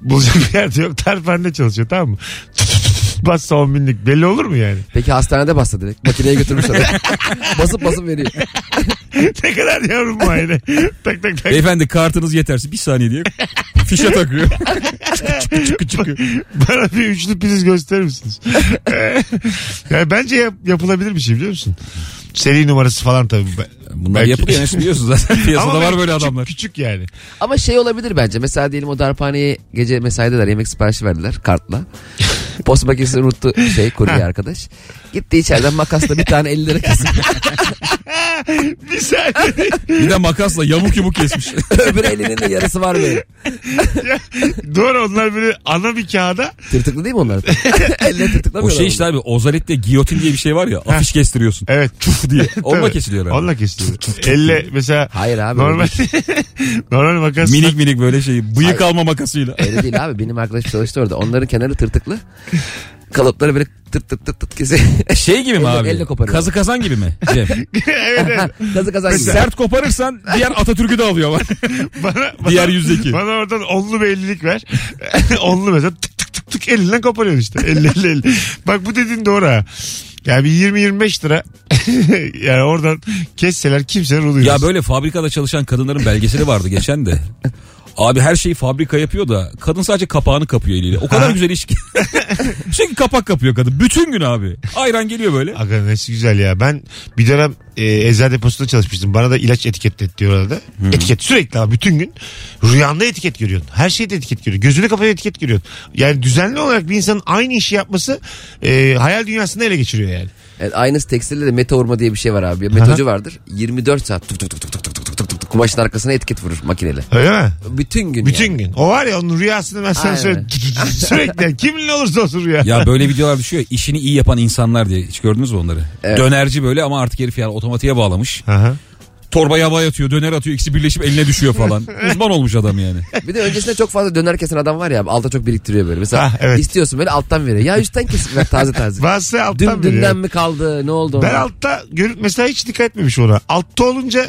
S2: Bulacak bir yerde yok. Terpende çalışıyor tamam mı? Bassa 10 binlik belli olur mu yani?
S4: Peki hastanede bassa direkt. Makineye götürmüş adam. basıp basıp veriyor.
S2: ne kadar yavrum bu aile. tak tak tak.
S3: Beyefendi kartınız yetersiz. Bir saniye diye fişe takıyor.
S2: Bana bir üçlü priz gösterir misiniz? yani bence yap- yapılabilir bir şey biliyor musun? Seri numarası falan tabii.
S3: Bunlar
S2: Belki.
S3: yapılıyor. Enes biliyorsun zaten. Piyasada
S2: Ama
S3: var böyle
S2: küçük-
S3: adamlar.
S2: Küçük yani.
S4: Ama şey olabilir bence. Mesela diyelim o darphaneye gece mesaideler. Yemek siparişi verdiler kartla. Post makinesini unuttu şey kurye arkadaş. Gitti içeriden makasla bir tane 50 lira kesip
S2: bir saniye.
S3: Bir de makasla yamuk yumuk kesmiş.
S4: Öbür elinin de yarısı var böyle.
S2: Doğru onlar böyle ana bir kağıda.
S4: Tırtıklı değil mi onlar? Elle
S3: o
S4: tırtıklamıyorlar.
S3: şey işte abi ozalette giyotin diye bir şey var ya afiş kestiriyorsun.
S2: Evet.
S3: Çuf diye. Onunla
S2: Tabii.
S3: kesiliyor abi.
S2: Onunla kesiliyor. Elle mesela.
S4: Hayır abi, şey
S2: Normal, normal makas.
S3: Minik minik böyle şey bıyık alma makasıyla.
S4: Öyle değil abi benim arkadaşım çalıştı orada. Onların kenarı tırtıklı. Kalıpları böyle tırt tırt tırt tırt kesiyor.
S3: Şey gibi mi
S4: Elle-
S3: abi?
S4: elle koparıyor.
S3: Kazı kazan gibi mi? Cem?
S2: evet, evet.
S4: Kazı kazan gibi.
S3: Sert koparırsan diğer Atatürk'ü de alıyorlar.
S2: Bana, bana,
S3: Diğer yüzdeki.
S2: Bana oradan onlu bir ellilik ver. onlu mesela tık tık tık tık elinden koparıyorsun işte. Elli elli elli. Bak bu dediğin doğru ha. Yani bir 20-25 lira yani oradan kesseler kimseler oluyor.
S3: ya böyle fabrikada çalışan kadınların belgeseli vardı geçen de. Abi her şeyi fabrika yapıyor da kadın sadece kapağını kapıyor eliyle. O kadar güzel iş ki. Çünkü kapak kapıyor kadın. Bütün gün abi. Ayran geliyor böyle.
S2: Aga nesi güzel ya. Ben bir dönem e, eczacı deposunda çalışmıştım. Bana da ilaç etiketlet diyor orada. Etiket sürekli ama bütün gün rüyanda etiket görüyorsun. Her şeyde etiket görüyorsun. Gözünü kapatıyor etiket görüyorsun. Yani düzenli olarak bir insanın aynı işi yapması e, hayal dünyasını ele geçiriyor yani.
S4: Evet, aynısı tekstilde de meta vurma diye bir şey var abi. Bir Metocu vardır. 24 saat tuk tuk tuk tuk tuk tuk tuk tuk tuk tuk kumaşın arkasına etiket vurur makineyle.
S2: Öyle mi?
S4: Bütün gün
S2: Bütün
S4: yani.
S2: gün. O var ya onun rüyasını ben sana
S4: Aynen.
S2: söyleyeyim. Sürekli yani kiminle olursa olsun rüya.
S3: Ya böyle videolar düşüyor. ya, işini iyi yapan insanlar diye. Hiç gördünüz mü onları?
S4: Evet.
S3: Dönerci böyle ama artık herif yani otomatiğe bağlamış.
S2: Aha.
S3: Torbayı havaya atıyor, döner atıyor. ikisi birleşip eline düşüyor falan. Uzman olmuş adam yani.
S4: Bir de öncesinde çok fazla döner kesen adam var ya abi, alta çok biriktiriyor böyle. Mesela
S2: Ah, evet.
S4: istiyorsun böyle alttan veriyor. Ya üstten kesik ver taze taze.
S2: Bazısı alttan
S4: Dün,
S2: veriyor.
S4: dünden mi kaldı ne oldu?
S2: Ben
S4: ona?
S2: altta görüp mesela hiç dikkat etmemiş ona. Altta olunca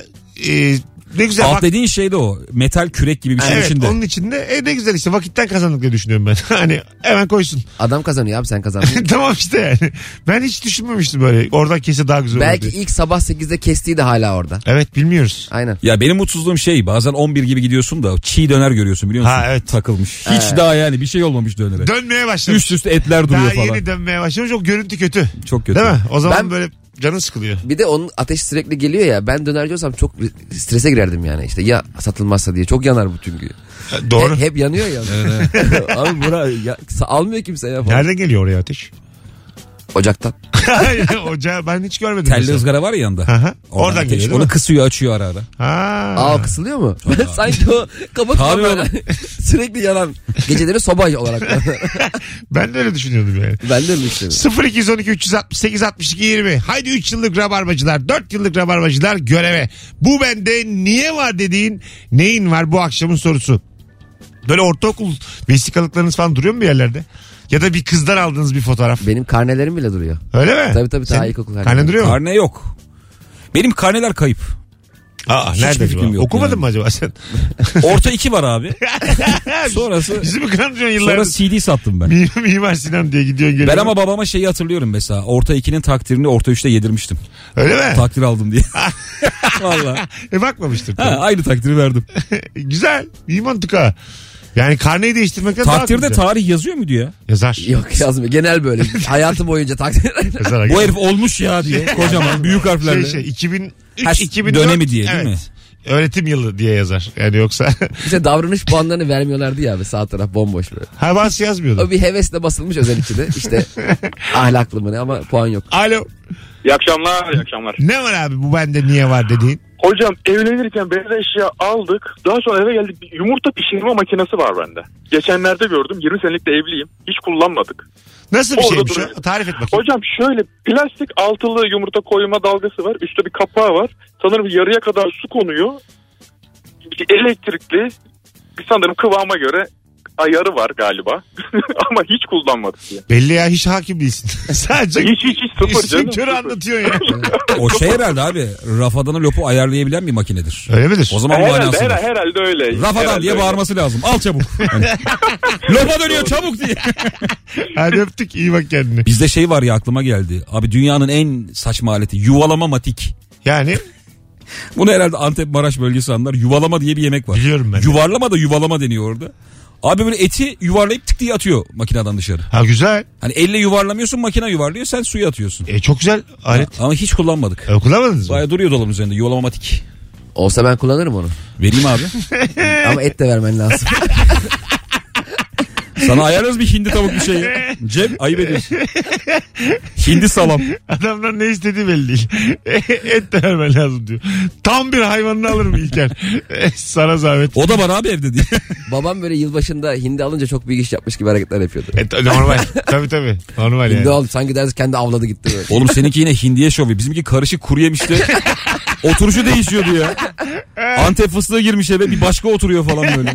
S2: e, ne güzel
S3: Alt
S2: bak-
S3: dediğin şey de o. Metal kürek gibi bir şey
S2: Evet
S3: içinde.
S2: onun içinde e, ne güzel işte vakitten kazandık diye düşünüyorum ben. hani hemen koysun.
S4: Adam kazanıyor abi sen kazandın.
S2: tamam işte yani. Ben hiç düşünmemiştim böyle. Oradan kese daha güzel olur
S4: Belki
S2: diye.
S4: ilk sabah 8'de kestiği de hala orada.
S2: Evet bilmiyoruz.
S4: Aynen.
S3: Ya benim mutsuzluğum şey bazen 11 gibi gidiyorsun da çiğ döner görüyorsun biliyor musun?
S2: Ha, evet.
S3: Takılmış. Hiç daha yani bir şey olmamış dönere.
S2: Dönmeye başlamış.
S3: Üst üste etler
S2: daha
S3: duruyor falan.
S2: yeni dönmeye başlamış. O görüntü kötü.
S3: Çok kötü.
S2: Değil mi? O zaman
S4: Ben-
S2: böyle canın sıkılıyor.
S4: Bir de onun ateşi sürekli geliyor ya. Ben dönerci olsam çok strese girerdim yani. işte ya satılmazsa diye. Çok yanar bu çünkü.
S2: Doğru.
S4: Hep, hep yanıyor ya. Abi bura ya, almıyor kimse ya falan.
S2: Nereden geliyor oraya ateş?
S4: Ocaktan.
S2: Ocağı ben hiç görmedim.
S3: Telli
S2: mesela.
S3: ızgara var ya yanında.
S2: Aha. Oradan
S3: ateş.
S2: geliyor. değil
S3: Onu
S2: mi?
S3: kısıyor açıyor ara ara.
S2: Ha.
S4: Aa kısılıyor mu? Sanki o
S3: Tabii
S4: kapatıyor.
S3: oğlum.
S4: sürekli yanan. Geceleri soba olarak.
S2: Ben de öyle düşünüyordum yani.
S4: ben de öyle düşünüyorum.
S2: 0212 368 62 20. Haydi 3 yıllık rabarbacılar, 4 yıllık rabarbacılar göreve. Bu bende niye var dediğin neyin var bu akşamın sorusu. Böyle ortaokul vesikalıklarınız falan duruyor mu bir yerlerde? Ya da bir kızdan aldığınız bir fotoğraf.
S4: Benim karnelerim bile duruyor.
S2: Öyle mi?
S4: Tabii, tabii, daha
S2: Senin
S4: ilkokul
S2: Karnen
S4: halinde.
S2: duruyor mu?
S3: Karne yok. Benim karneler kayıp.
S2: Aa,
S3: Hiçbir
S2: nerede
S3: fikrim
S2: acaba?
S3: yok
S2: Okumadın
S3: yani.
S2: mı acaba sen?
S3: Orta iki var abi. Sonrası
S2: Bizi mi kandırıyorsun
S3: sonra
S2: yıllardır?
S3: CD sattım ben.
S2: Mimar, Mimar Sinan diye gidiyorsun
S3: Ben
S2: geliyorsun.
S3: ama babama şeyi hatırlıyorum mesela. Orta 2'nin takdirini orta 3'te yedirmiştim.
S2: Öyle mi?
S3: Takdir aldım diye. Valla.
S2: E bakmamıştır.
S3: Ha, aynı takdiri verdim.
S2: Güzel. İyi mantık ha. Yani karneyi değiştirmekten daha
S3: Takdirde
S2: güzel.
S3: tarih yazıyor muydu ya?
S2: Yazar.
S4: Yok yazmıyor. Genel böyle. Hayatım boyunca takdir.
S2: Yazar.
S3: Bu herif olmuş ya diye kocaman büyük harflerle.
S2: şey, şey 2003
S3: Ha,
S2: 2004
S3: dönemi diye değil
S2: evet.
S3: mi?
S2: Öğretim yılı diye yazar. Yani yoksa
S4: işte davranış puanlarını vermiyorlardı ya abi sağ taraf bomboş böyle.
S2: havas yazmıyordu.
S4: O bir hevesle basılmış özellikle de. İşte ahlaklı mı ne ama puan yok.
S2: Alo.
S9: İyi akşamlar, iyi akşamlar.
S2: Ne var abi bu bende niye var dediğin?
S9: Hocam evlenirken beyaz eşya aldık. Daha sonra eve geldik. Bir Yumurta pişirme makinesi var bende. Geçenlerde gördüm. 20 senelik de evliyim. Hiç kullanmadık.
S2: Nasıl bir
S9: Orada
S2: şeymiş
S9: duruyor.
S2: o? Tarif et bakayım.
S9: Hocam şöyle plastik altılı yumurta koyma dalgası var. Üstte bir kapağı var. Sanırım yarıya kadar su konuyor. Elektrikli. Sanırım kıvama göre ayarı var galiba. Ama hiç kullanmadık. ya.
S2: Belli ya hiç hakim değilsin. Sadece
S9: Hiç hiç hiç sıfır
S2: işin
S9: canım.
S2: körü anlatıyorsun ya.
S3: O şey herhalde abi rafadanı lopu ayarlayabilen bir makinedir.
S2: Öyle midir?
S3: O zaman
S9: Herhalde,
S3: manası var.
S9: herhalde, herhalde öyle.
S3: Rafadan
S9: Herhalde
S3: diye
S9: öyle.
S3: bağırması lazım. Al çabuk. Hani, Lopa dönüyor çabuk diye.
S2: Hadi öptük iyi bak kendine.
S3: Bizde şey var ya aklıma geldi. Abi dünyanın en saçma aleti yuvalama matik.
S2: Yani
S3: Bunu herhalde Antep Maraş bölgesi anlar. Yuvalama diye bir yemek var.
S2: Biliyorum ben de.
S3: Yuvarlama da yuvalama deniyor orada. Abi böyle eti yuvarlayıp tık diye atıyor makineden dışarı.
S2: ha güzel.
S3: Hani elle yuvarlamıyorsun makine yuvarlıyor sen suya atıyorsun.
S2: E, çok güzel alet.
S3: Ama hiç kullanmadık.
S2: E, kullanmadınız mı?
S3: Baya duruyor dolabın üzerinde yuvalama matik.
S4: Olsa ben kullanırım onu.
S3: Vereyim abi.
S4: Ama et de vermen lazım.
S3: Sana ayarlarız bir hindi tavuk bir şey. Cem ayıp ediyorsun. Hindi salam.
S2: Adamdan ne istediği belli değil. Et de vermen lazım diyor. Tam bir hayvanını alırım İlker. E, Sana zahmet.
S3: O da bana abi evde diye.
S4: Babam böyle yılbaşında hindi alınca çok büyük iş yapmış gibi hareketler yapıyordu.
S2: Et, E, normal. tabii tabii. Normal
S4: Hindi
S2: yani.
S4: aldı sanki dersi kendi avladı gitti böyle.
S3: Oğlum seninki yine hindiye şovu. Bizimki karışık kuru yemişti. Oturuşu değişiyordu ya. Antep fıstığı girmiş eve bir başka oturuyor falan böyle.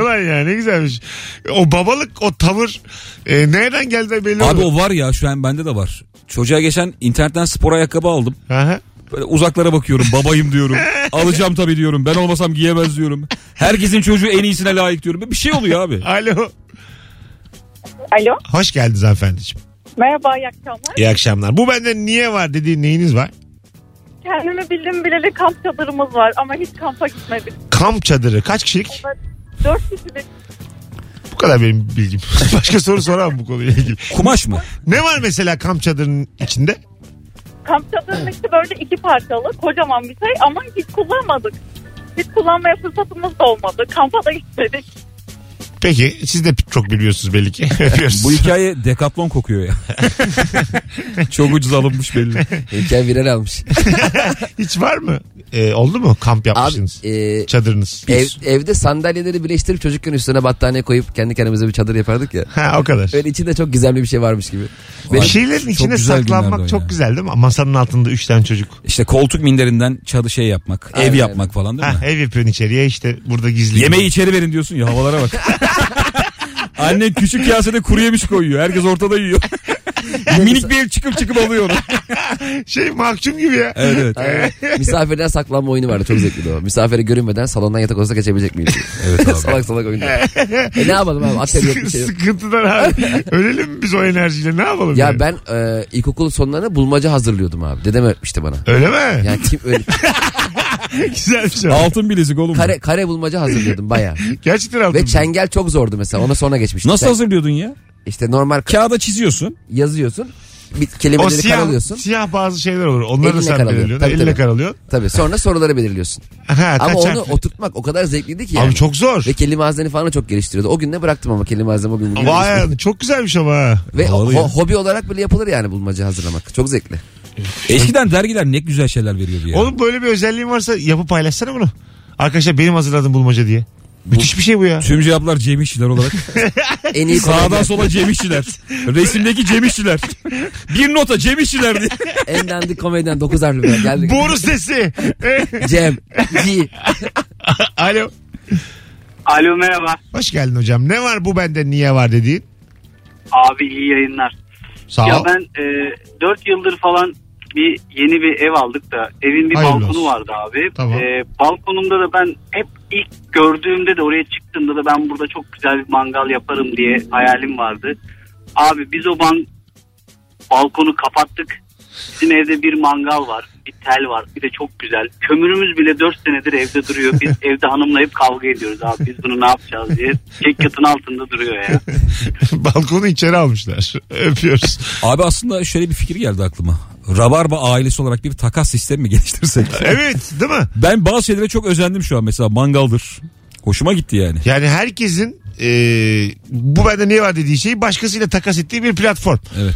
S2: Ulan ya ne güzelmiş. O babalık, o tavır e, nereden geldi belli
S3: Abi
S2: olmuyor.
S3: o var ya şu an bende de var. Çocuğa geçen internetten spor ayakkabı aldım.
S2: Aha.
S3: Böyle uzaklara bakıyorum babayım diyorum. Alacağım tabii diyorum ben olmasam giyemez diyorum. Herkesin çocuğu en iyisine layık diyorum. Bir şey oluyor abi.
S2: Alo.
S10: Alo.
S2: Hoş geldiniz hanımefendiciğim.
S10: Merhaba, iyi akşamlar.
S2: İyi akşamlar. Bu bende niye var dediğin neyiniz var?
S10: Kendimi bildim bileli kamp çadırımız var ama hiç kampa gitmedik.
S2: Kamp çadırı kaç kişilik?
S10: Dört kişilik
S2: Bu kadar benim bilgim. Başka soru soramam bu konuyla ilgili.
S3: Kumaş mı?
S2: Ne var mesela kamp çadırının içinde?
S10: kamp çadırının içi böyle iki parçalı, kocaman bir şey ama hiç kullanmadık. Hiç kullanmaya fırsatımız da olmadı. Kampa da gitmedik.
S2: Peki siz de çok biliyorsunuz belli ki. Öpüyoruz.
S3: Bu hikaye dekatlon kokuyor ya. Çok ucuz alınmış belli.
S4: Heykel viral almış.
S2: Hiç var mı? Ee, oldu mu kamp
S4: Abi
S2: yapmışsınız?
S4: e,
S2: Çadırınız.
S4: ev, evde sandalyeleri birleştirip çocukken üstüne battaniye koyup kendi kendimize bir çadır yapardık ya.
S2: Ha o kadar.
S4: Böyle içinde çok gizemli bir şey varmış gibi.
S2: Bir
S3: Ay,
S2: şeylerin
S3: çok
S2: içine
S3: güzel günlerdi
S2: saklanmak
S3: o
S2: çok
S3: ya.
S2: güzel değil mi? Masanın altında üç tane çocuk.
S3: İşte koltuk minderinden çadı şey yapmak, ev
S4: Aynen.
S3: yapmak falan değil mi?
S2: Ha, ev yapıyorsun içeriye işte burada gizli.
S3: Yemeği içeri verin diyorsun ya havalara bak. Annen küçük kasede kuru yemiş koyuyor. Herkes ortada yiyor. Minik bir el çıkıp çıkıp alıyor onu.
S2: Şey mahkum gibi ya.
S3: Evet evet.
S4: Aynen. Misafirden saklanma oyunu vardı çok zevkliydi o. Misafire görünmeden salondan yatak odasına geçebilecek miyim?
S3: Evet abi.
S4: salak salak oyunda. e ne yapalım abi? Atel yok bir şey yok.
S2: Sıkıntıdan abi. Ölelim mi biz o enerjiyle ne yapalım? yani?
S4: Ya ben e, ilkokul sonlarına bulmaca hazırlıyordum abi. Dedem öğretmişti bana.
S2: Öyle mi?
S4: Yani kim öyle
S2: Güzel bir şey.
S3: Altın bilezik oğlum. bu.
S4: kare, kare bulmaca hazırlıyordum baya.
S2: Gerçekten altın.
S4: Ve çengel çok zordu mesela. Ona sonra geçmiştim.
S3: Nasıl
S4: Sen
S3: hazırlıyordun ya?
S4: İşte normal ka-
S3: Kağıda çiziyorsun.
S4: yazıyorsun. Bir
S2: o
S4: kelimeleri
S2: siyah,
S4: karalıyorsun.
S2: siyah bazı şeyler olur. Onları da
S4: Elinle
S2: sen
S4: karalıyor.
S2: belirliyorsun.
S4: Tabii,
S2: Elinle
S4: tabii.
S2: karalıyorsun.
S4: Tabii sonra soruları belirliyorsun.
S2: Ha,
S4: Ama
S2: kaç
S4: onu
S2: harfli?
S4: oturtmak o kadar zevkliydi ki yani.
S2: Abi çok zor.
S4: Ve kelime hazneni falan çok geliştiriyordu. O gün ne bıraktım ama kelime haznem o gün. bugün
S2: Vay
S4: gelişti.
S2: anı, çok güzelmiş ama. ha.
S4: Ve
S3: Havalı
S4: ho-
S3: ya.
S4: hobi olarak böyle yapılır yani bulmaca hazırlamak. Çok zevkli.
S3: Eskiden dergiler ne güzel şeyler veriyordu ya.
S2: Oğlum böyle bir özelliğin varsa yapıp paylaşsana bunu. Arkadaşlar benim hazırladığım bulmaca diye. Müthiş bir şey bu ya.
S3: Tüm cevaplar Cem İşçiler olarak.
S4: En iyi
S3: Sağdan
S4: komedi,
S3: sola Cem İşçiler. Resimdeki Cem İşçiler. Bir nota Cem İşçiler diye.
S4: en dandik komediden 9 harfli bir geldik.
S2: Boru sesi.
S4: Cem, G.
S2: Alo.
S5: Alo merhaba.
S2: Hoş geldin hocam. Ne var bu bende niye var dediğin?
S5: Abi iyi yayınlar.
S2: Sağ
S5: Ya
S2: ol.
S5: ben e, 4 yıldır falan bir yeni bir ev aldık da evin bir
S2: Hayırlı
S5: balkonu
S2: olsun.
S5: vardı abi.
S2: Tamam.
S5: E, balkonumda da ben hep ilk gördüğümde de oraya çıktığımda da ben burada çok güzel bir mangal yaparım diye hayalim vardı. Abi biz o ban balkonu kapattık. Bizim evde bir mangal var, bir tel var, bir de çok güzel. Kömürümüz bile 4 senedir evde duruyor. Biz evde hanımla hep kavga ediyoruz abi biz bunu ne yapacağız diye. Çek yatın altında duruyor ya.
S2: Balkonu içeri almışlar. Öpüyoruz.
S3: Abi aslında şöyle bir fikir geldi aklıma. Rabarba ailesi olarak bir takas sistemi mi geliştirsek?
S2: Evet değil mi?
S3: Ben bazı şeylere çok özendim şu an mesela mangaldır. Hoşuma gitti yani.
S2: Yani herkesin e, bu bende niye var dediği şeyi başkasıyla takas ettiği bir platform.
S3: Evet.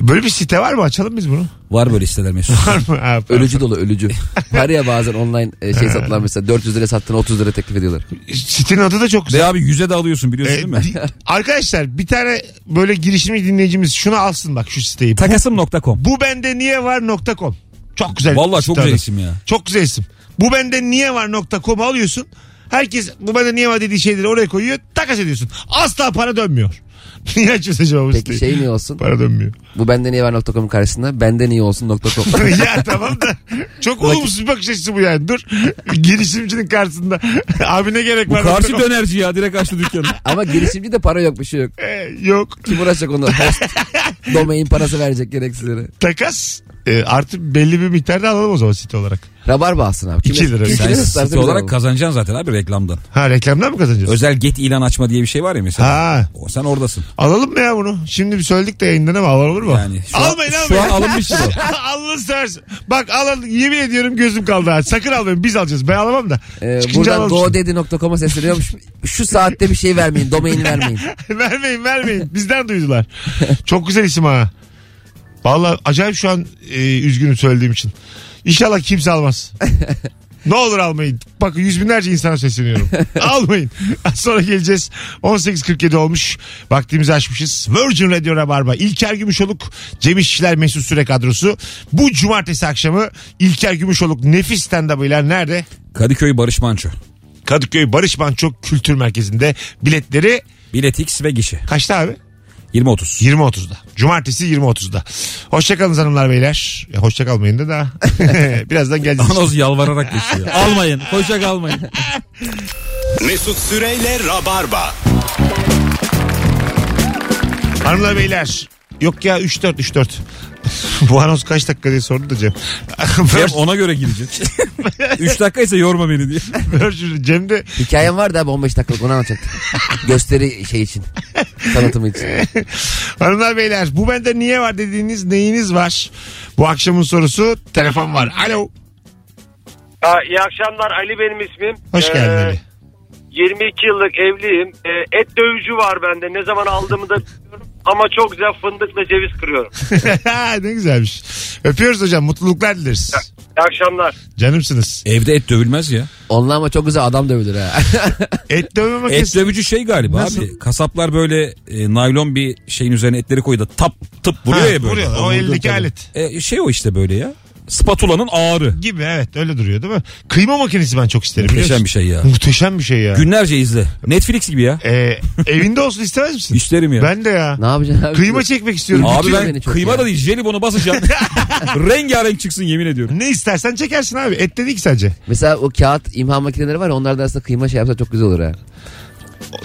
S2: Böyle bir site var mı? Açalım biz bunu.
S3: Var böyle siteler Mesut.
S2: Var mı? Ha,
S4: Ölücü dolu ölücü. Var ya bazen online e, şey satılan mesela 400 lira sattığına 30 lira teklif ediyorlar.
S2: Sitenin adı da çok güzel.
S3: Ve abi yüze de alıyorsun biliyorsun değil mi?
S2: E, di- arkadaşlar bir tane böyle girişimci dinleyicimiz şunu alsın bak şu siteyi.
S3: Takasım.com.
S2: Bu bende niye var .com. Çok güzel.
S3: Vallahi çok
S2: site
S3: güzel
S2: adı.
S3: isim ya.
S2: Çok güzel isim. Bu bende niye var .com'u alıyorsun. Herkes bu bende niye var dediği şeyleri oraya koyuyor. Takas ediyorsun. Asla para dönmüyor. Niye açıyorsun acaba bu
S4: Peki
S2: siteyi?
S4: şey ne olsun?
S2: Para dönmüyor.
S4: Bu benden iyi var.com karşısında benden iyi olsun.com.
S2: ya tamam da çok olumsuz bir bakış açısı bu yani. Dur. Girişimcinin karşısında. Abi ne gerek
S3: Bu
S2: var?
S3: karşı
S2: .com?
S3: dönerci ya direkt açtı dükkanı.
S4: Ama girişimci de para yok bir şey yok.
S2: Ee, yok.
S4: Kim uğraşacak onu? Host, domain parası verecek gereksiz yere.
S2: e, Takas. Ee, artık belli bir miktarda alalım o zaman site olarak.
S4: Rabarba alsın abi. Kime-
S2: İki lira. şey.
S4: kime
S2: Sen
S3: Sen
S4: tutarsa
S3: site
S4: bize
S3: olarak
S4: alalım.
S3: kazanacaksın zaten abi reklamdan.
S2: Ha reklamdan mı kazanacağız?
S3: Özel get ilan açma diye bir şey var ya mesela.
S2: Ha.
S3: O, sen oradasın.
S2: Alalım mı ya bunu? Şimdi bir söyledik de yayından ama alalım mı?
S3: Yani şu an-
S2: almayın
S3: şu
S2: almayın.
S3: an alınmıştır o.
S2: Alın sersin. Bak alın yemin ediyorum gözüm kaldı ha. Sakın almayın biz alacağız. Ben alamam da.
S4: Ee,
S2: Çıkınca
S4: buradan
S2: alalım
S4: godedi.com'a sesleniyorum. Şu- Şu saatte bir şey vermeyin. Domaini vermeyin.
S2: şimdi. vermeyin vermeyin. Bizden duydular. Çok güzel isim ha. Valla acayip şu an e, üzgünüm söylediğim için. İnşallah kimse almaz. Ne olur almayın. Bakın yüz binlerce insana sesleniyorum. almayın. Az sonra geleceğiz. 18.47 olmuş. Vaktimizi aşmışız. Virgin Radio Rabarba. İlker Gümüşoluk, Cem İşçiler Mesut Süre kadrosu. Bu cumartesi akşamı İlker Gümüşoluk nefis stand-up'ıyla nerede?
S3: Kadıköy Barış Manço.
S2: Kadıköy Barış Manço Kültür Merkezi'nde. Biletleri
S3: Biletix ve gişe.
S2: kaçta abi?
S3: 20.30.
S2: 20.30'da. Cumartesi 20.30'da. Hoşçakalın hanımlar beyler. Ya hoşça kalmayın da daha. Birazdan geleceğiz.
S3: Anoz yalvararak geçiyor. almayın. Hoşça kalmayın.
S1: Mesut Süreyle Rabarba.
S2: Hanımlar beyler. Yok ya 3-4 3-4. Bu anons kaç dakika diye sordu da Cem.
S3: Cem ona göre girecek. 3 dakika ise yorma beni diye.
S2: Virgin- Cem de
S4: Hikayem vardı abi 15 dakikalık onu anlatacaktım. Gösteri şey için. Tanıtımı için.
S2: hanımlar beyler bu bende niye var dediğiniz neyiniz var? Bu akşamın sorusu telefon var. Alo.
S11: iyi akşamlar Ali benim ismim.
S2: Hoş
S11: Ee,
S2: geldin Ali.
S11: 22 yıllık evliyim. Ee, et dövücü var bende. Ne zaman aldığımı da bilmiyorum. Ama çok güzel fındıkla ceviz kırıyorum.
S2: ne güzelmiş. Öpüyoruz hocam mutluluklar dileriz.
S11: İyi akşamlar.
S2: Canımsınız.
S3: Evde et dövülmez ya.
S4: Onlar ama çok güzel adam dövülür ha.
S2: Et dövme
S3: Et
S2: makinesi.
S3: dövücü şey galiba
S2: Nasıl?
S3: abi. Kasaplar böyle e, naylon bir şeyin üzerine etleri koyuyor da tap tıp vuruyor
S2: Ha,
S3: ya böyle.
S2: vuruyor. O
S3: Vurduğu
S2: eldeki
S3: tabii.
S2: alet.
S3: E, şey o işte böyle ya. Spatulanın ağrı.
S2: gibi evet öyle duruyor değil mi? Kıyma makinesi ben çok isterim. biliyor
S3: Muhteşem
S2: musun?
S3: bir şey ya.
S2: Muhteşem bir şey ya.
S3: Günlerce izle. Netflix gibi ya.
S2: Ee, evinde olsun istemez misin?
S3: İşlerim ya.
S2: Ben de ya.
S4: ne yapacaksın abi?
S2: Kıyma çekmek istiyorum.
S3: Abi
S4: Ürkütüyor
S3: ben
S4: beni çok
S3: kıyma
S4: ya.
S3: da değil jelibonu basacağım. Rengarenk çıksın yemin ediyorum.
S2: Ne istersen çekersin abi. Et dedi ki sadece.
S4: Mesela o kağıt imha makineleri var ya onlardan aslında kıyma şey yapsa çok güzel olur ha.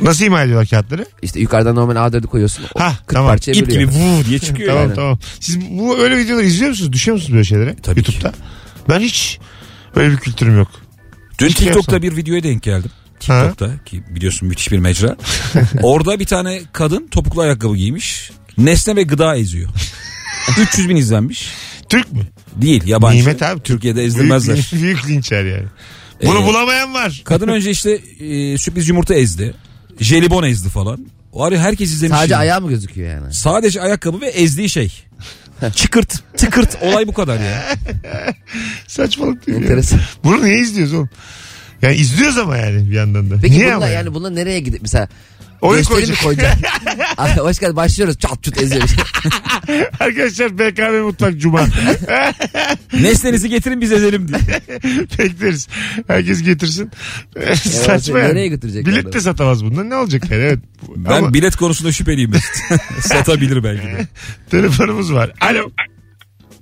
S2: Nasıl ima ediyorlar kağıtları?
S4: İşte yukarıdan normal A4'ü koyuyorsun. O
S2: Hah,
S4: 40
S2: tamam.
S4: parçaya
S3: İp gibi
S4: bölüyor.
S3: vuv diye çıkıyor.
S2: Tamam
S3: yani.
S2: tamam. Siz bu öyle videoları izliyor musunuz? Düşüyor musunuz böyle şeylere?
S3: Tabii ki.
S2: YouTube'da. Ben hiç öyle bir kültürüm yok.
S3: Dün
S2: Hiç şey
S3: TikTok'ta
S2: yapsam.
S3: bir videoya denk geldim. TikTok'ta ki biliyorsun müthiş bir mecra. Orada bir tane kadın topuklu ayakkabı giymiş. Nesne ve gıda eziyor. 300 bin izlenmiş.
S2: Türk mü?
S3: Değil yabancı.
S2: Nimet abi, Türk.
S3: Türkiye'de
S2: Büyük,
S3: ezdirmezler.
S2: büyük linçer yani. Bunu
S3: Ee,
S2: bulamayan var.
S3: Kadın önce işte e, sürpriz yumurta ezdi. Jelibon ezdi falan. Var ya herkes izlemiş.
S4: Sadece
S2: şey.
S3: yani.
S4: ayağı mı gözüküyor yani?
S3: Sadece ayakkabı ve ezdiği şey. Çıkırt tıkırt olay bu kadar ya.
S2: Saçmalık değil mi ya?
S4: Enteresan.
S2: Bunu niye izliyoruz oğlum? Yani izliyoruz ama yani bir yandan da.
S4: Peki
S2: niye ama
S4: bunlar
S2: yani?
S4: yani bunlar nereye gidip mesela
S2: Oyun
S4: gösteri mi
S2: koyacak.
S4: koyacak? Abi Hoş geldin başlıyoruz çat çut eziyoruz.
S2: Arkadaşlar BKM Mutfak Cuma.
S3: Nesnenizi getirin biz ezelim diye.
S2: Bekleriz. Herkes getirsin. Saçma yani.
S4: nereye götürecek
S2: Bilet
S4: adam?
S2: de satamaz bundan. Ne olacak yani? Evet.
S3: Ben
S2: Ama
S3: bilet konusunda şüpheliyim. Mesut. Satabilir belki de.
S2: telefonumuz var. Alo.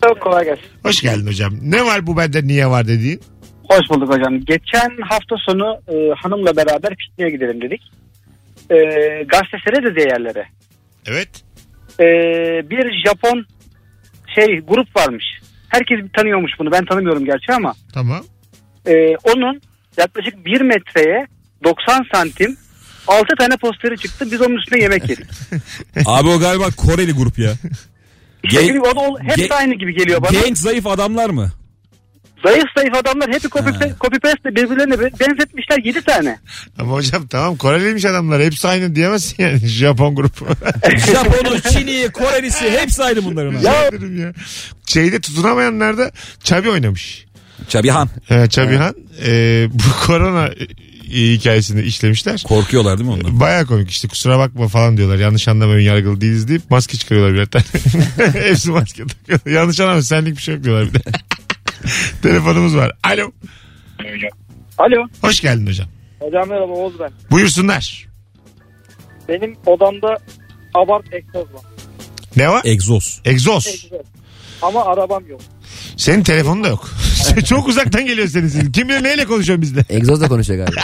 S11: Çok kolay gelsin.
S2: Hoş geldin hocam. Ne var bu bende niye var dediğin?
S11: Hoş bulduk hocam. Geçen hafta sonu e, hanımla beraber pikniğe gidelim dedik. E, gazetelere de yerlere.
S2: Evet.
S11: e, bir Japon şey grup varmış. Herkes tanıyormuş bunu. Ben tanımıyorum gerçi ama
S2: Tamam.
S11: e, onun yaklaşık 1 metreye 90 santim 6 tane posteri çıktı. Biz onun üstüne yemek yedik.
S3: Abi o galiba Koreli grup ya.
S11: İşte
S3: Gen-
S11: çünkü o da o- hepsi
S3: gen-
S11: aynı gibi geliyor bana.
S3: Genç zayıf adamlar mı?
S11: Zayıf zayıf adamlar hepsi copy,
S3: Ha.
S11: copy paste birbirlerine be- benzetmişler 7 tane.
S2: Ama hocam tamam Koreliymiş adamlar. Hepsi aynı diyemezsin yani. Japon grubu.
S3: Japonu, Çin'i, Korelisi hepsi aynı bunların. abi.
S2: ya. ya. Şeyde tutunamayanlar da Çabi oynamış.
S3: Çabihan.
S2: Ee, Çabihan e, bu korona e, hikayesini işlemişler.
S3: Korkuyorlar değil mi onlar?
S2: Baya komik işte kusura bakma falan diyorlar. Yanlış anlamayın yargılı değiliz deyip maske çıkarıyorlar birer tane. Hepsi maske takıyor. Yanlış anlamayın senlik bir şey yok diyorlar bir de. Telefonumuz var. Alo.
S7: Alo.
S2: Hoş geldin hocam.
S7: Hocam merhaba Oğuz ben.
S2: Buyursunlar.
S7: Benim odamda abart egzoz var.
S2: Ne var?
S3: Egzoz.
S2: Egzoz.
S7: Ama arabam yok.
S2: Senin telefonun da yok. Çok uzaktan geliyor senin sesin. Kim bilir neyle konuşuyorsun bizde.
S4: Egzozla konuşuyor galiba.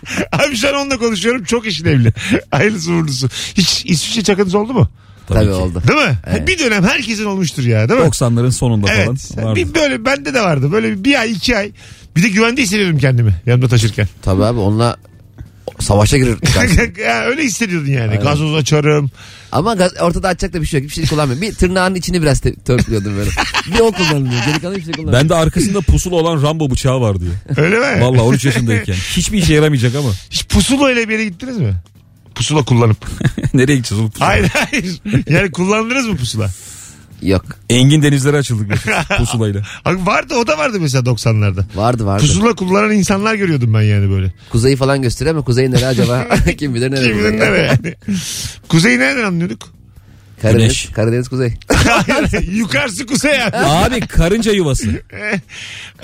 S2: Abi şu an onunla konuşuyorum. Çok işin evli. Hayırlısı uğurlusu. Hiç İsviçre çakınız oldu mu?
S3: tabii,
S4: Tabii
S3: ki.
S4: oldu.
S2: Değil mi? Bir dönem herkesin olmuştur ya değil mi?
S3: 90'ların sonunda
S2: Evet.
S3: falan. vardı.
S2: Bir böyle bende de vardı. Böyle bir ay iki ay. Bir de güvende hissediyorum kendimi yanımda taşırken.
S4: Tabii abi onunla savaşa girir.
S2: ya, öyle hissediyordun yani. Gazoz açarım.
S4: Ama gaz- ortada açacak da bir şey yok. Hiçbir şey kullanmıyorum. Bir tırnağın içini biraz te- törpülüyordum böyle. bir o kullanılıyor. Geri kalan hiçbir şey kullanmıyor.
S3: Ben de arkasında pusula olan Rambo bıçağı var diyor.
S2: Öyle mi?
S3: Vallahi 13 yaşındayken. Hiçbir işe yaramayacak ama.
S2: Hiç pusula ile bir yere gittiniz mi? Pusula kullanıp.
S3: Nereye gideceğiz oğlum? pusula?
S2: hayır hayır. Yani kullandınız mı pusula?
S4: Yok.
S3: Engin denizlere açıldık biz pusulayla.
S2: Abi vardı o da vardı mesela 90'larda.
S4: Vardı vardı.
S2: Pusula kullanan insanlar görüyordum ben yani böyle.
S4: Kuzeyi falan gösteriyor ama kuzey nereye acaba? Kim bilir nereye.
S2: Kim bilir nereye yani. Kuzeyi nereden anlıyorduk?
S4: Karadeniz,
S3: Güneş.
S4: Karadeniz kuzey.
S2: Hayır, Yukarısı kuzey yani.
S3: Abi karınca yuvası.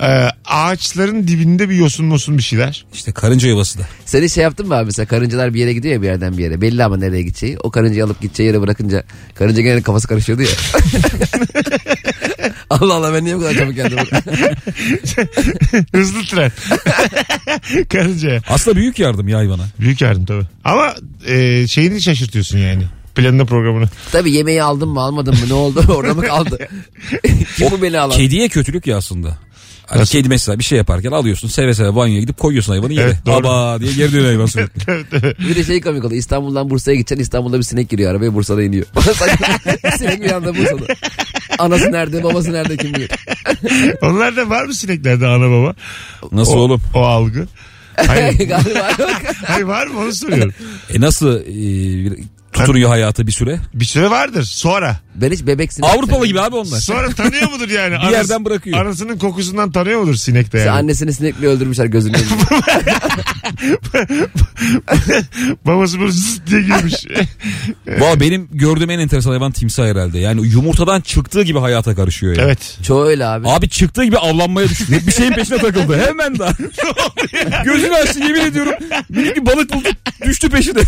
S2: Ee, ağaçların dibinde bir yosun mosun bir şeyler.
S3: İşte karınca yuvası da.
S4: Sen hiç şey yaptın mı abi mesela karıncalar bir yere gidiyor ya bir yerden bir yere. Belli ama nereye gideceği. O karıncayı alıp gideceği yere bırakınca karınca gene kafası karışıyordu ya. Allah Allah ben niye bu kadar çabuk geldim?
S2: Hızlı tren. Karıncaya.
S3: Aslında büyük yardım ya hayvana.
S2: Büyük yardım tabii. Ama e, şeyini şaşırtıyorsun yani. Planını programını.
S4: Tabii yemeği aldım mı almadım mı ne oldu orada mı kaldı? Kim bu beni alan?
S3: Kediye kötülük ya aslında. Hani
S2: Nasıl?
S3: kedi mesela bir şey yaparken alıyorsun seve seve banyoya gidip koyuyorsun hayvanı yere.
S2: Evet, doğru.
S3: Aba diye geri dönüyor hayvan sürekli.
S4: Bir de şey komik oldu. İstanbul'dan Bursa'ya gideceksin. İstanbul'da bir sinek giriyor arabaya Bursa'da iniyor. sinek bir anda Bursa'da. Anası nerede babası nerede kim bilir.
S2: Onlarda var mı sineklerde ana baba?
S3: Nasıl
S2: o,
S3: oğlum?
S2: O algı. Hayır,
S4: Galiba yok.
S2: hayır var mı onu soruyorum.
S3: E nasıl e, bir- tuturuyor hayatı bir süre?
S2: Bir süre vardır sonra.
S4: Ben hiç bebek sinek.
S3: Avrupalı gibi abi onlar.
S2: Sonra tanıyor mudur yani?
S3: Bir yerden bırakıyor.
S2: Anasının kokusundan tanıyor mudur sinek de
S4: Mesela
S2: yani?
S4: Annesini sinekle öldürmüşler gözünün önünde.
S2: Babası bunu zıt diye girmiş.
S3: Valla benim gördüğüm en enteresan hayvan timsah herhalde. Yani yumurtadan çıktığı gibi hayata karışıyor yani.
S2: evet.
S4: Çoğu öyle abi.
S3: Abi çıktığı gibi avlanmaya düştü. Bir şeyin peşine takıldı. Hemen daha. Gözünü açtı yemin ediyorum. Minik bir balık buldu. Düştü peşine.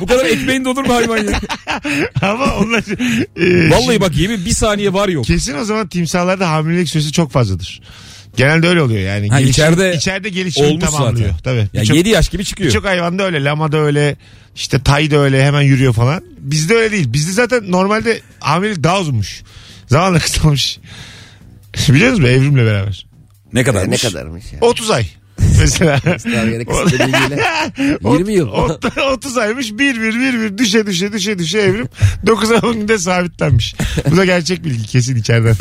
S3: Bu kadar ekmeğin de olur mu hayvan ya?
S2: Ama onlar... e,
S3: Vallahi bak yemin bir saniye var yok.
S2: Kesin o zaman timsahlarda hamilelik süresi çok fazladır. Genelde öyle oluyor yani.
S3: Ha, içeride
S2: içeride gelişimi
S3: olmuş
S2: tamamlıyor.
S3: zaten.
S2: Tabii.
S3: Ya
S2: Birçok-
S3: 7 yaş gibi çıkıyor.
S2: Birçok hayvanda öyle. Lama da öyle. işte tay da öyle hemen yürüyor falan. Bizde öyle değil. Bizde zaten normalde hamilelik daha uzunmuş. Zamanla kısalmış. Biliyor musun evrimle beraber?
S3: Ne
S4: ne
S3: kadarmış?
S4: kadarmış ya.
S2: 30 ay. Mesela.
S4: Daha yine kısa dediğiyle. 20 yıl.
S2: 30 aymış. Bir bir bir bir düşe düşe düşe düşe evrim. 9 ay 10 günde sabitlenmiş. Bu da gerçek bilgi kesin içeriden.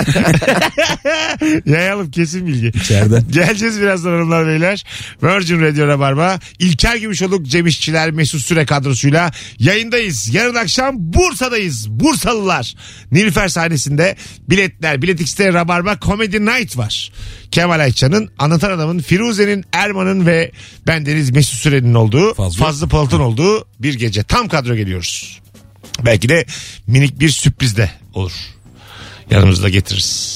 S2: Yayalım kesin bilgi.
S3: İçeriden.
S2: Geleceğiz birazdan hanımlar beyler. Virgin Radio Rabarba. İlker Gümüşoluk, Cem İşçiler, Mesut Süre kadrosuyla yayındayız. Yarın akşam Bursa'dayız. Bursalılar. Nilüfer sahnesinde biletler. Bilet X'te Rabarba Comedy Night var. Kemal Ayça'nın, Anlatan Adam'ın, Firuze'nin, Erman'ın ve bendeniz Mesut Süre'nin olduğu,
S3: Fazlı.
S2: Fazlı Polat'ın olduğu bir gece. Tam kadro geliyoruz. Belki de minik bir sürpriz de olur. Yanımızda getiririz.